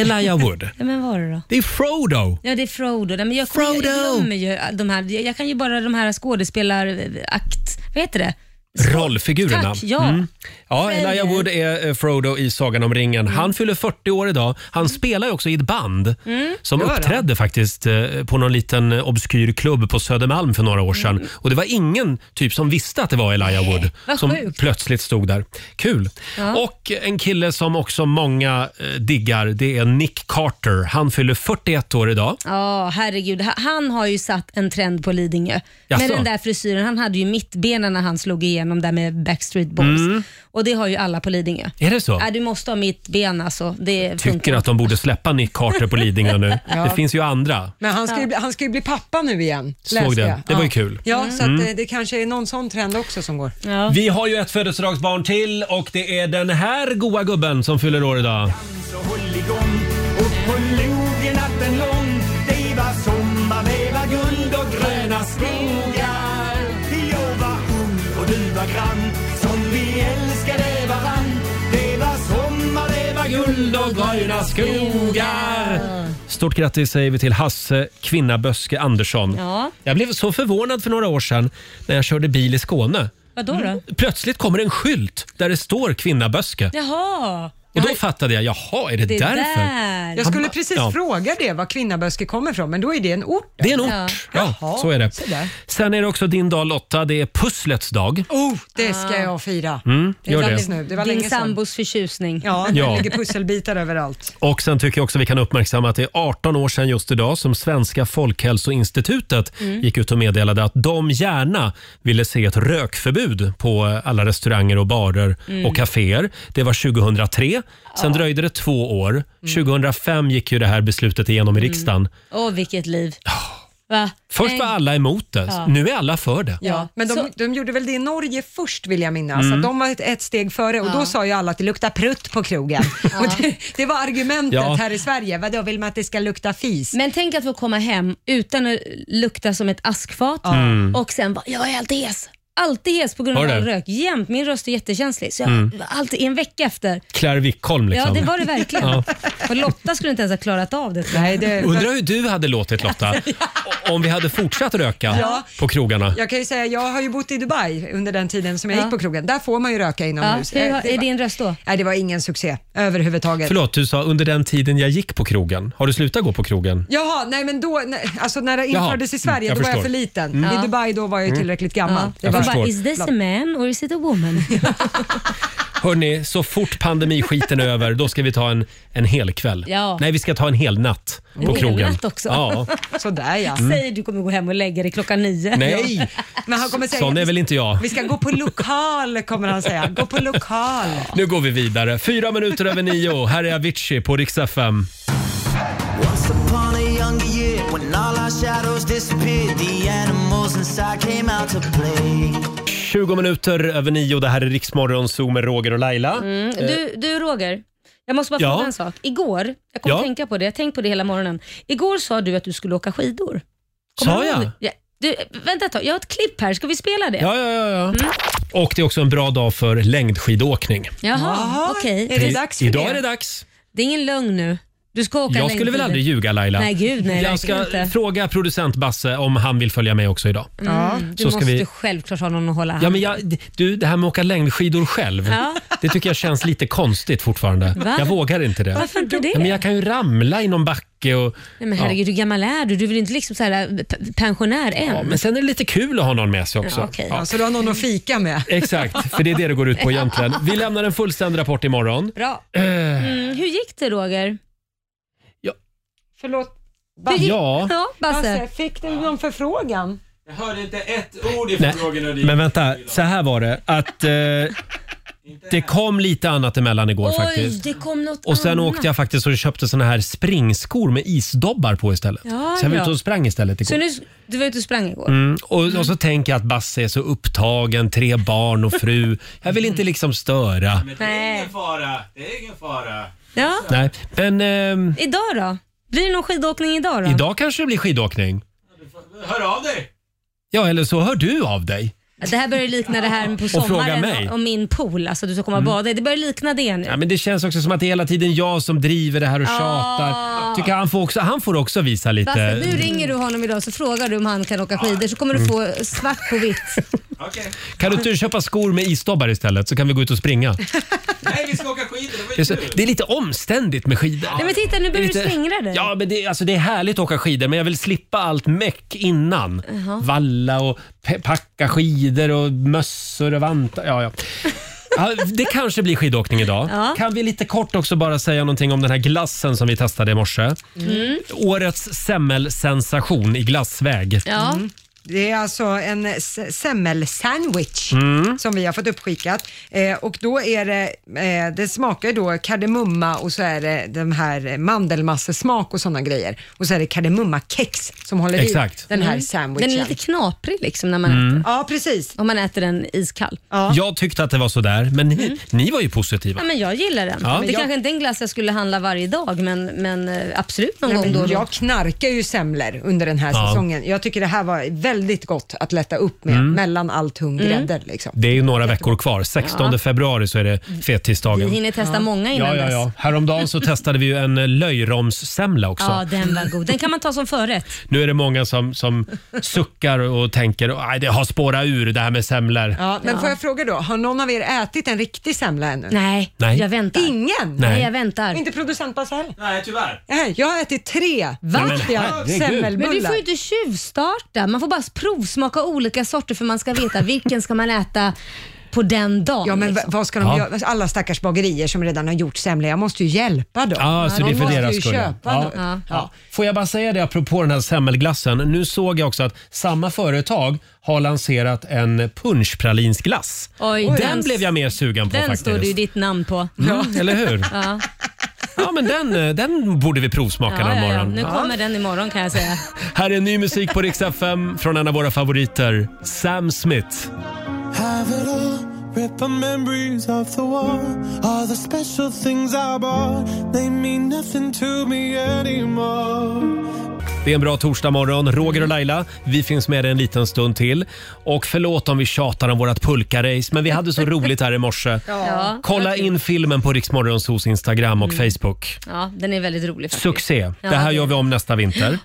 Elijah Wood.
Ja, men var det då?
Det är Frodo.
Ja, det är Frodo. Nej, men jag, Frodo. jag glömmer ju de här. Jag kan ju bara de här skådespelarakt... Vad heter det?
Rollfigurerna.
Tack, ja.
Mm. ja Elijah Wood är eh, Frodo i Sagan om ringen. Han fyller 40 år idag. Han spelar ju också i ett band
Mm.
som
Gör han?
uppträdde faktiskt eh, på någon liten eh, obskyr klubb på Södermalm för några år sedan. Och det var ingen typ som visste att det var Elijah Wood
Mm. vad
som
sjukt.
plötsligt stod där. Kul!
Ja.
Och en kille som också många eh, diggar, det är Nick Carter. Han fyller 41 år idag.
Ja, herregud. Ha- Han har ju satt en trend på Lidingö.
Jaså?
Med den där frisyren. Han hade ju mittbenen när han slog igenom där med Backstreet Boys.
Mm.
Och det har ju alla på Lidingö.
Är det så?
Ja, du måste ha mittben alltså. Det
Tycker att de borde släppa Nick Carter på Lidingö nu.
Ja.
Det finns ju andra.
Men han ska, ju, bli- han ska ju bli pappa nu igen.
Såg
läste
det.
jag.
Det var ju kul.
Ja,
Mm.
så att,
Mm.
eh, det kanske är någon sån trend också som går.
Vi har ju ett födelsedagsbarn till och det är den här goa gubben som fyller år idag.
Så håll igång upp på logen natten lång Det var sommar, det var guld och gröna skogar Jag var ung och du var grann Som vi älskade varann Det var sommar, det var guld och gröna skogar
Stort grattis säger vi till Hasse Kvinnaböske Andersson.
Ja.
Jag blev så förvånad för några år sedan när jag körde bil i Skåne. Mm.
Vadå
Mm.
då?
Plötsligt kommer en skylt där det står Kvinnaböske.
Jaha.
Och då fattade jag, jaha, är det, därför?
Jag skulle precis
Ja.
fråga det, var Kvinnaböske kommer ifrån, men då är det en ort.
Det är en ort. Ja,
Jaha,
så är det.
se där.
Sen är det också din dag Lotta, det är pusslets dag.
Oh, det ska jag fira.
Mm, gör
är
det.
faktiskt Nu. det var
Din
länge sedan.
sambos förtjusning.
Ja,
Ja.
det ligger pusselbitar överallt.
Och sen tycker jag också vi kan uppmärksamma att det är 18 år sedan just idag som Svenska folkhälsoinstitutet
Mm.
gick ut och meddelade att de gärna ville se ett rökförbud på alla restauranger och barer
Mm.
och kaféer. Det var 2003. Sen dröjde det två år. 2005 gick ju det här beslutet igenom
Mm.
i riksdagen.
Åh, vilket liv. Va?
Först var
En-
alla emot det,
Ja.
nu är alla för det.
Ja, men de,
Så-
de gjorde väl det i Norge först vill jag minnas.
Mm.
Att de var ett, ett steg före och då sa ju alla att det luktar prutt på krogen. och det, det var argumentet
Ja.
här i Sverige. Vadå, vill man att det ska lukta fis?
Men tänk att få komma hem utan att lukta som ett askfat
Ja. Mm.
och sen bara, jag är alltid hes. Alltid hes på grund
Var
av
det?
all rök. Jämt. Min röst är jättekänslig. Så jag,
Mm.
alltid, en vecka efter.
Claire Wickholm liksom.
Ja, det var det verkligen.
Ja.
Och Lotta skulle inte ens ha klarat av det. Nej,
Undrar hur du hade låtit Lotta, om vi hade fortsatt röka
Ja.
på krogarna.
Jag kan ju säga, jag har ju bott i Dubai under den tiden som jag
Ja.
gick på krogen. Där får man ju röka inomhus.
Ja, hur
Eh,
har- är
var-
din röst då?
Nej, det var ingen succé överhuvudtaget.
Förlåt, du sa under den tiden jag gick på krogen. Har du slutat gå på krogen?
Jaha, nej men då, nej, alltså när det
Jaha,
infördes i
mm,
Sverige
jag
då var jag
förstår.
för liten.
Mm.
I
Ja.
Dubai då var jag ju
Mm.
tillräckligt gammal.
Ja, jag
jag
förstår.
bara, is this a man or is it a woman?
Hörni, så fort pandemiskiten är över, då ska vi ta en, en hel kväll.
Ja.
Nej, vi ska ta en hel natt
En
på
hel
krogen.
natt också.
Ja.
Sådär ja.
Mm.
Säg du kommer gå hem och lägga dig klockan nio.
Nej.
Men han kommer säga,
Sån är väl inte jag.
Vi ska gå på lokal kommer han säga. Gå på lokal.
Nu går vi vidare. Fyra minuter över nio. Här är Avicii på Rix FM.
Once upon a younger year When all our shadows disappeared The animals inside came out to play
20 minuter över nio. Det här är Riksmorgon Zoo med Roger och Laila.
Mm.
Eh,
Du, du Roger, jag måste bara fråga
Ja.
en sak. Igår, jag kom
Ja.
att tänka på det, jag har tänkt på det hela morgonen. Igår sa du att du skulle åka skidor. Kommer
Sa
du ihåg
jag?
det? Ja. Du, vänta ett tag, jag har ett klipp här. Ska vi spela det?
Eh, Ja, ja, ja. ja.
Mm.
Och det är också en bra dag för längdskidåkning.
Jaha,
Jaha,
okej.
är det dags för Idag det? är det dags.
Det är ingen lögn nu. Du ska åka
Jag skulle väl
längdskidor.
aldrig ljuga Laila.
Nej, gud nej.
Jag
verkligen
ska
inte.
fråga producent Basse om han vill följa med också idag.
Mm, du
Så ska
måste
vi...
självklart ha någon att hålla hand
Ja, men jag, du, det här med att åka längdskidor själv,
Ja.
det tycker jag känns lite konstigt fortfarande.
Va?
Jag vågar inte det.
Varför inte det?
Ja, men jag kan ju ramla i någon backe och...
Nej, men herregud,
ja.
hur gammal är du? Du är väl inte liksom så här, p- pensionär än?
Ja, men sen är det lite kul att ha någon med sig också.
Ja, okej.
Ja.
Så Alltså, du har någon att fika med.
Exakt, för det är det det går ut på egentligen. Vi lämnar en fullständig rapport imorgon.
Bra.
Eh,
Mm, hur gick det Roger?
Förlåt.
Basse. Ja.
Ja, Basse.
Fick du någon förfrågan?
Jag hörde inte ett ord
Nej,
ifrån Roger Nordin.
men vänta, så här var det att eh, det kom lite annat emellan igår
Oj,
faktiskt.
det kom något
Och sen
annat.
åkte jag faktiskt och köpte såna här springskor med isdobbar på istället.
Ja,
så jag var
ja.
ute och sprang istället
Så
igår.
nu, du var ute och sprang igår?
Mm, och, och så tänker jag att Basse är så upptagen, tre barn och fru. Jag vill
Mm.
inte liksom störa.
Men det är ingen fara. Det är ingen fara.
Ja.
Nej, men ehm,
Idag då? Blir det någon skidåkning idag då?
idag kanske det blir skidåkning.
Hör av dig!
Ja, eller så hör du av dig.
Det här börjar likna det här på
fråga
sommaren
mig.
och min pool, alltså du ska komma och
Mm.
bada i. Det börjar likna det nu.
Ja, men det känns också som att det är hela tiden jag som driver det här och
Ah.
tjatar. Tycker han, får också, han får också visa lite... Mm.
Basse, nu ringer du honom idag så frågar du om han kan åka skidor så kommer du få svart på vitt.
Kan du inte köpa skor med isdobbar istället så kan vi gå ut och springa?
Nej, vi ska åka skidor. Det var
Det är,
ju
så,
kul.
det är lite omständigt med skidor.
Nej, men titta, nu
Det är
börjar du
lite-
slingra dig.
Ja, men det, alltså, det är härligt att åka skidor men jag vill slippa allt meck innan.
Jaha.
Valla och pe- packa skidor och mössor och vantar. Ja, ja. Ja, det kanske blir skidåkning idag.
Ja.
Kan vi lite kort också bara säga någonting om den här glassen som vi testade i morse?
Mm.
Årets semmelsensation i glassväg.
Mm. Det är alltså en s- semmelsandwich
Mm.
som vi har fått uppskickat. Eh, och då är det, eh, det smakar ju då kardemumma och så är det de här mandelmassesmak och sådana grejer. Och så är det kardemummakex som håller i
Exakt.
den här
Mm.
sandwichen.
Den är lite knaprig liksom när man
Mm.
äter.
Ja, precis.
Om man äter den iskall.
Jag tyckte att det var sådär, men
Mm.
ni, ni var ju positiva.
Ja, men jag gillar den.
Ja.
Det
Jag-
kanske inte är en glass jag skulle handla varje dag, men, men eh, absolut någon
Nej,
gång
men
då och då.
jag knarkar ju semlor under den här
Ja.
säsongen. Jag tycker det här var väldigt gott att lätta upp med
Mm.
mellan all tung
Mm.
grädde. Liksom.
Det är ju några veckor kvar. 16
Ja.
februari så är det fettisdagen.
Vi hinner testa många innan
ja, ja, ja.
dess.
Häromdagen så testade vi ju en eh, löjromssemla också.
Ja, den var god. Den kan man ta som förrätt.
Nu är det många som, som suckar och tänker att det har spårat ur det här med semlor.
Ja, men får jag fråga då, har någon av er ätit en riktig semla ännu?
Nej,
Nej. jag
väntar.
Ingen?
Nej, jag
väntar.
Inte producent Basse heller?
Nej, tyvärr.
Nej, jag har ätit tre
Va?
riktiga
Men du får
semmelbullar.
ju inte tjuvstarta. Man får bara provsmaka olika sorter för man ska veta vilken ska man äta på den dagen.
Ja, men v-
liksom.
vad ska de
Ja.
göra? Alla stackars bagerier som redan har gjort semlor, jag måste ju hjälpa dem.
Ja, så det är
de
för
måste
deras
ju
skull.
köpa
ja.
något.
Ja. Får jag bara säga det apropå den här semmelglassen. Nu såg jag också att samma företag har lanserat en punschpralinsglass.
Oj,
den,
den s-
blev jag mer sugen på
Den
faktiskt.
står det ju ditt namn på.
Mm, eller hur?
Ja.
Ja, men den, eh, den borde vi provsmaka
Ja,
någon
ja, ja.
morgon.
Nu
Ja.
kommer den imorgon kan jag säga.
Här är ny musik på Rix FM från en av våra favoriter, Sam Smith.
Have it all, rip the memories of the war. All the special things I bought, they mean nothing to me anymore.
Det är en bra torsdagmorgon. Roger och Laila, vi finns med dig en liten stund till. Och förlåt om vi tjatar om vårt pulkarace, men vi hade så roligt här i morse.
Ja.
Kolla in filmen på Riksmorgonsos Instagram och
Mm.
Facebook.
Ja, den är väldigt rolig faktiskt.
Succé!
Ja,
Det här
det-
gör vi om nästa vinter.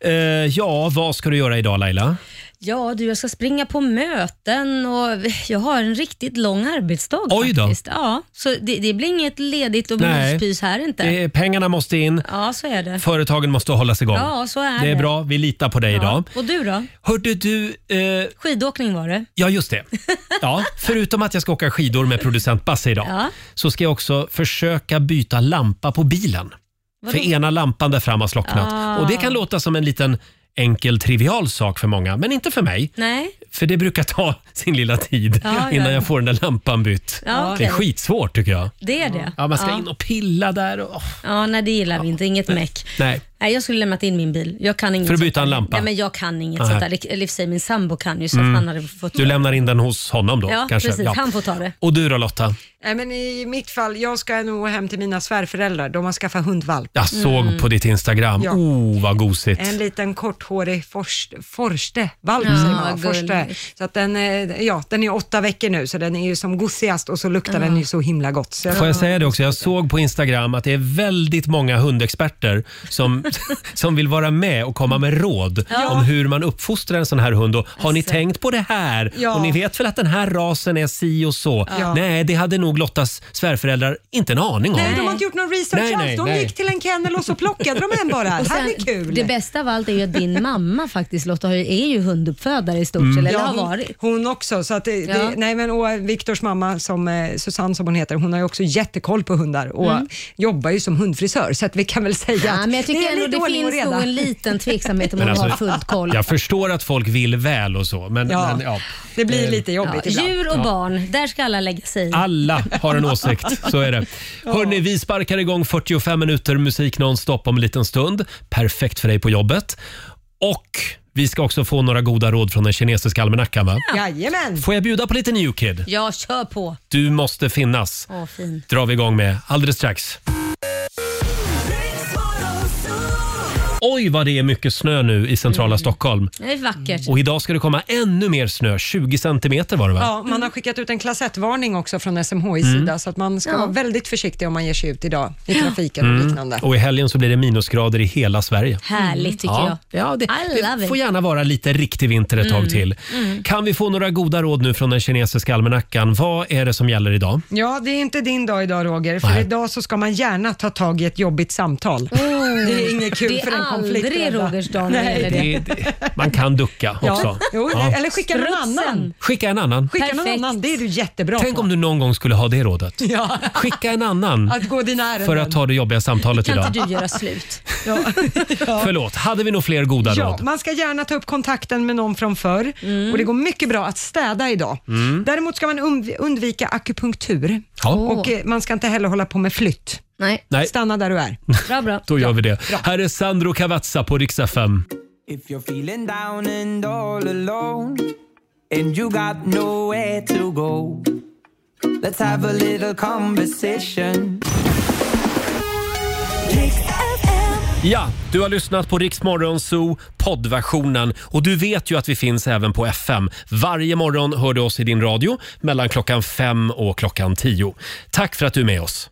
Eh, ja, vad ska du göra idag Laila?
Ja du, jag ska springa på möten och jag har en riktigt lång arbetsdag
Oj då.
faktiskt. Ja, så det, det blir inget ledigt och
Nej.
myspys här inte.
Det, pengarna måste in,
Ja, så är det.
företagen måste hållas igång.
Ja, så är
det är
det.
bra, vi litar på dig idag.
Ja. Och du då?
Hörde du... Eh...
Skidåkning var det.
Ja, just det. Ja, förutom att jag ska åka skidor med producent Basse idag
Ja.
så ska jag också försöka byta lampa på bilen.
Vadå?
För ena lampan där fram har slocknat.
Ah.
Och det kan låta som en liten enkel trivial sak för många, men inte för mig.
Nej.
För det brukar ta sin lilla tid
Ja, ja,
innan
ja.
jag får den där lampan bytt.
Ja,
Det är
okej.
skitsvårt tycker jag.
Det är det.
Ja, man ska in och pilla där. Och,
Ja, nej det gillar vi inte. Inget meck.
Nej.
Nej, jag skulle lämnat in min bil. Jag kan inget
För att byta
sånt där.
en lampa?
Nej, men jag kan inget
Nej.
sånt där. Det- Eller i och för sig, min sambo kan ju så
Mm.
att han hade fått
Du lämnar in den hos honom då
Ja,
kanske?
precis. Han får ta det.
Och du då Lotta?
Nej, men I mitt fall, jag ska nog hem till mina svärföräldrar. De har skaffat hundvalp.
Jag såg
Mm.
på ditt Instagram.
Ja.
Oh, vad gosigt.
En liten korthårig forst, forste, valp
Ja,
säger man,
vad
forste. Så att den, eh, ja, den är åtta veckor nu så den är ju som gossigast och så luktar den ju så himla gott. Så
Får jag säga det också? Jag såg på Instagram att det är väldigt många hundexperter som, som vill vara med och komma med råd
Ja. Alltså.
om hur man uppfostrar en sån här hund. Och, har ni tänkt på det här?
Ja.
Och ni vet väl att den här rasen är si och så?
Ja.
Nej, det hade nog Lottas svärföräldrar inte en aning om.
Nej, de har inte gjort någon research
Nej, nej,
alls. De
nej.
gick till en kennel och så plockade de en bara.
Och
det här
sen,
blir kul.
Det bästa av allt är ju att din mamma faktiskt Lotta har ju- är ju hunduppfödare i stort
Mm.
sett, eller har
hon,
varit.
hon också. Så att det,
Ja.
det, nej men, och Viktors mamma, som, eh, Susanne som hon heter, hon har ju också jättekoll på hundar och
Mm.
jobbar ju som hundfrisör. Så att vi kan väl säga
Ja,
att
men jag tycker
det är
ändå
lite
det
ordning och
finns
reda.
nog en liten tveksamhet om
Men
hon
alltså,
har fullt koll.
Jag förstår att folk vill väl och så, men
Ja.
men, ja.
Det blir
Eh,
lite jobbigt ibland.
Djur och
Ja.
barn, där ska alla lägga sig i.
Alla har en åsikt, så är det. Hörni, vi sparkar igång 45 minuter musik nonstop om en liten stund. Perfekt för dig på jobbet. Och vi ska också få några goda råd från den kinesiska almanackan, va?
Jajamän!
Får jag bjuda på lite New Kid?
Ja, kör på.
Du måste finnas.
Åh, fin.
drar vi igång med alldeles strax. Oj vad det är mycket snö nu i centrala Stockholm.
Det är vackert.
Och idag ska det komma ännu mer snö. 20 centimeter var det va?
Ja, man har skickat ut en klass 1-varning också från SMHIs
Mm.
sida, så att man ska
Ja.
vara väldigt försiktig om man ger sig ut idag i trafiken och
Mm.
liknande.
Och i helgen så blir det minusgrader i hela Sverige.
Härligt tycker
ja.
jag.
Ja, det,
I love
Det
it.
får gärna vara lite riktig vinter ett tag
Mm.
till.
Mm.
Kan vi få några goda råd nu från den kinesiska almanackan? Vad är det som gäller idag?
Ja, det är inte din dag idag Roger, för
Nej.
idag så ska man gärna ta tag i ett jobbigt samtal. Det är inget kul
Det är
för en konflikt.
aldrig Rogers dag när det gäller det.
Det, det, man kan ducka
Ja.
också.
Jo,
Ja.
Eller skicka någon
Strutsen.
annan.
Skicka en annan.
Skicka någon annan, det är du jättebra
Tänk
på.
om du någon gång skulle ha det rådet.
Ja.
Skicka en annan
Att gå dina ärenden.
för att ta det jobbiga samtalet
Kan
Mm. idag.
inte
Du göra slut.
Ja. Ja.
Förlåt, hade vi nog fler goda
Ja,
råd?
man ska gärna ta upp kontakten med någon från förr och det går mycket bra att städa idag.
Mm.
Däremot ska man undv- undvika akupunktur
Ja.
och eh, man ska inte heller hålla på med flytt.
Nej.
Nej.
Stanna där du är.
Bra, bra.
Då gör vi det. Här är Sandro Cavazza på riksdag 5.
If you're feeling down and all alone and you got nowhere to go Let's have a little conversation
Ja, du har lyssnat på Rix Morgon Zoo poddversionen och du vet ju att vi finns även på FM. Varje morgon hör du oss i din radio mellan klockan fem och klockan tio. Tack för att du är med oss.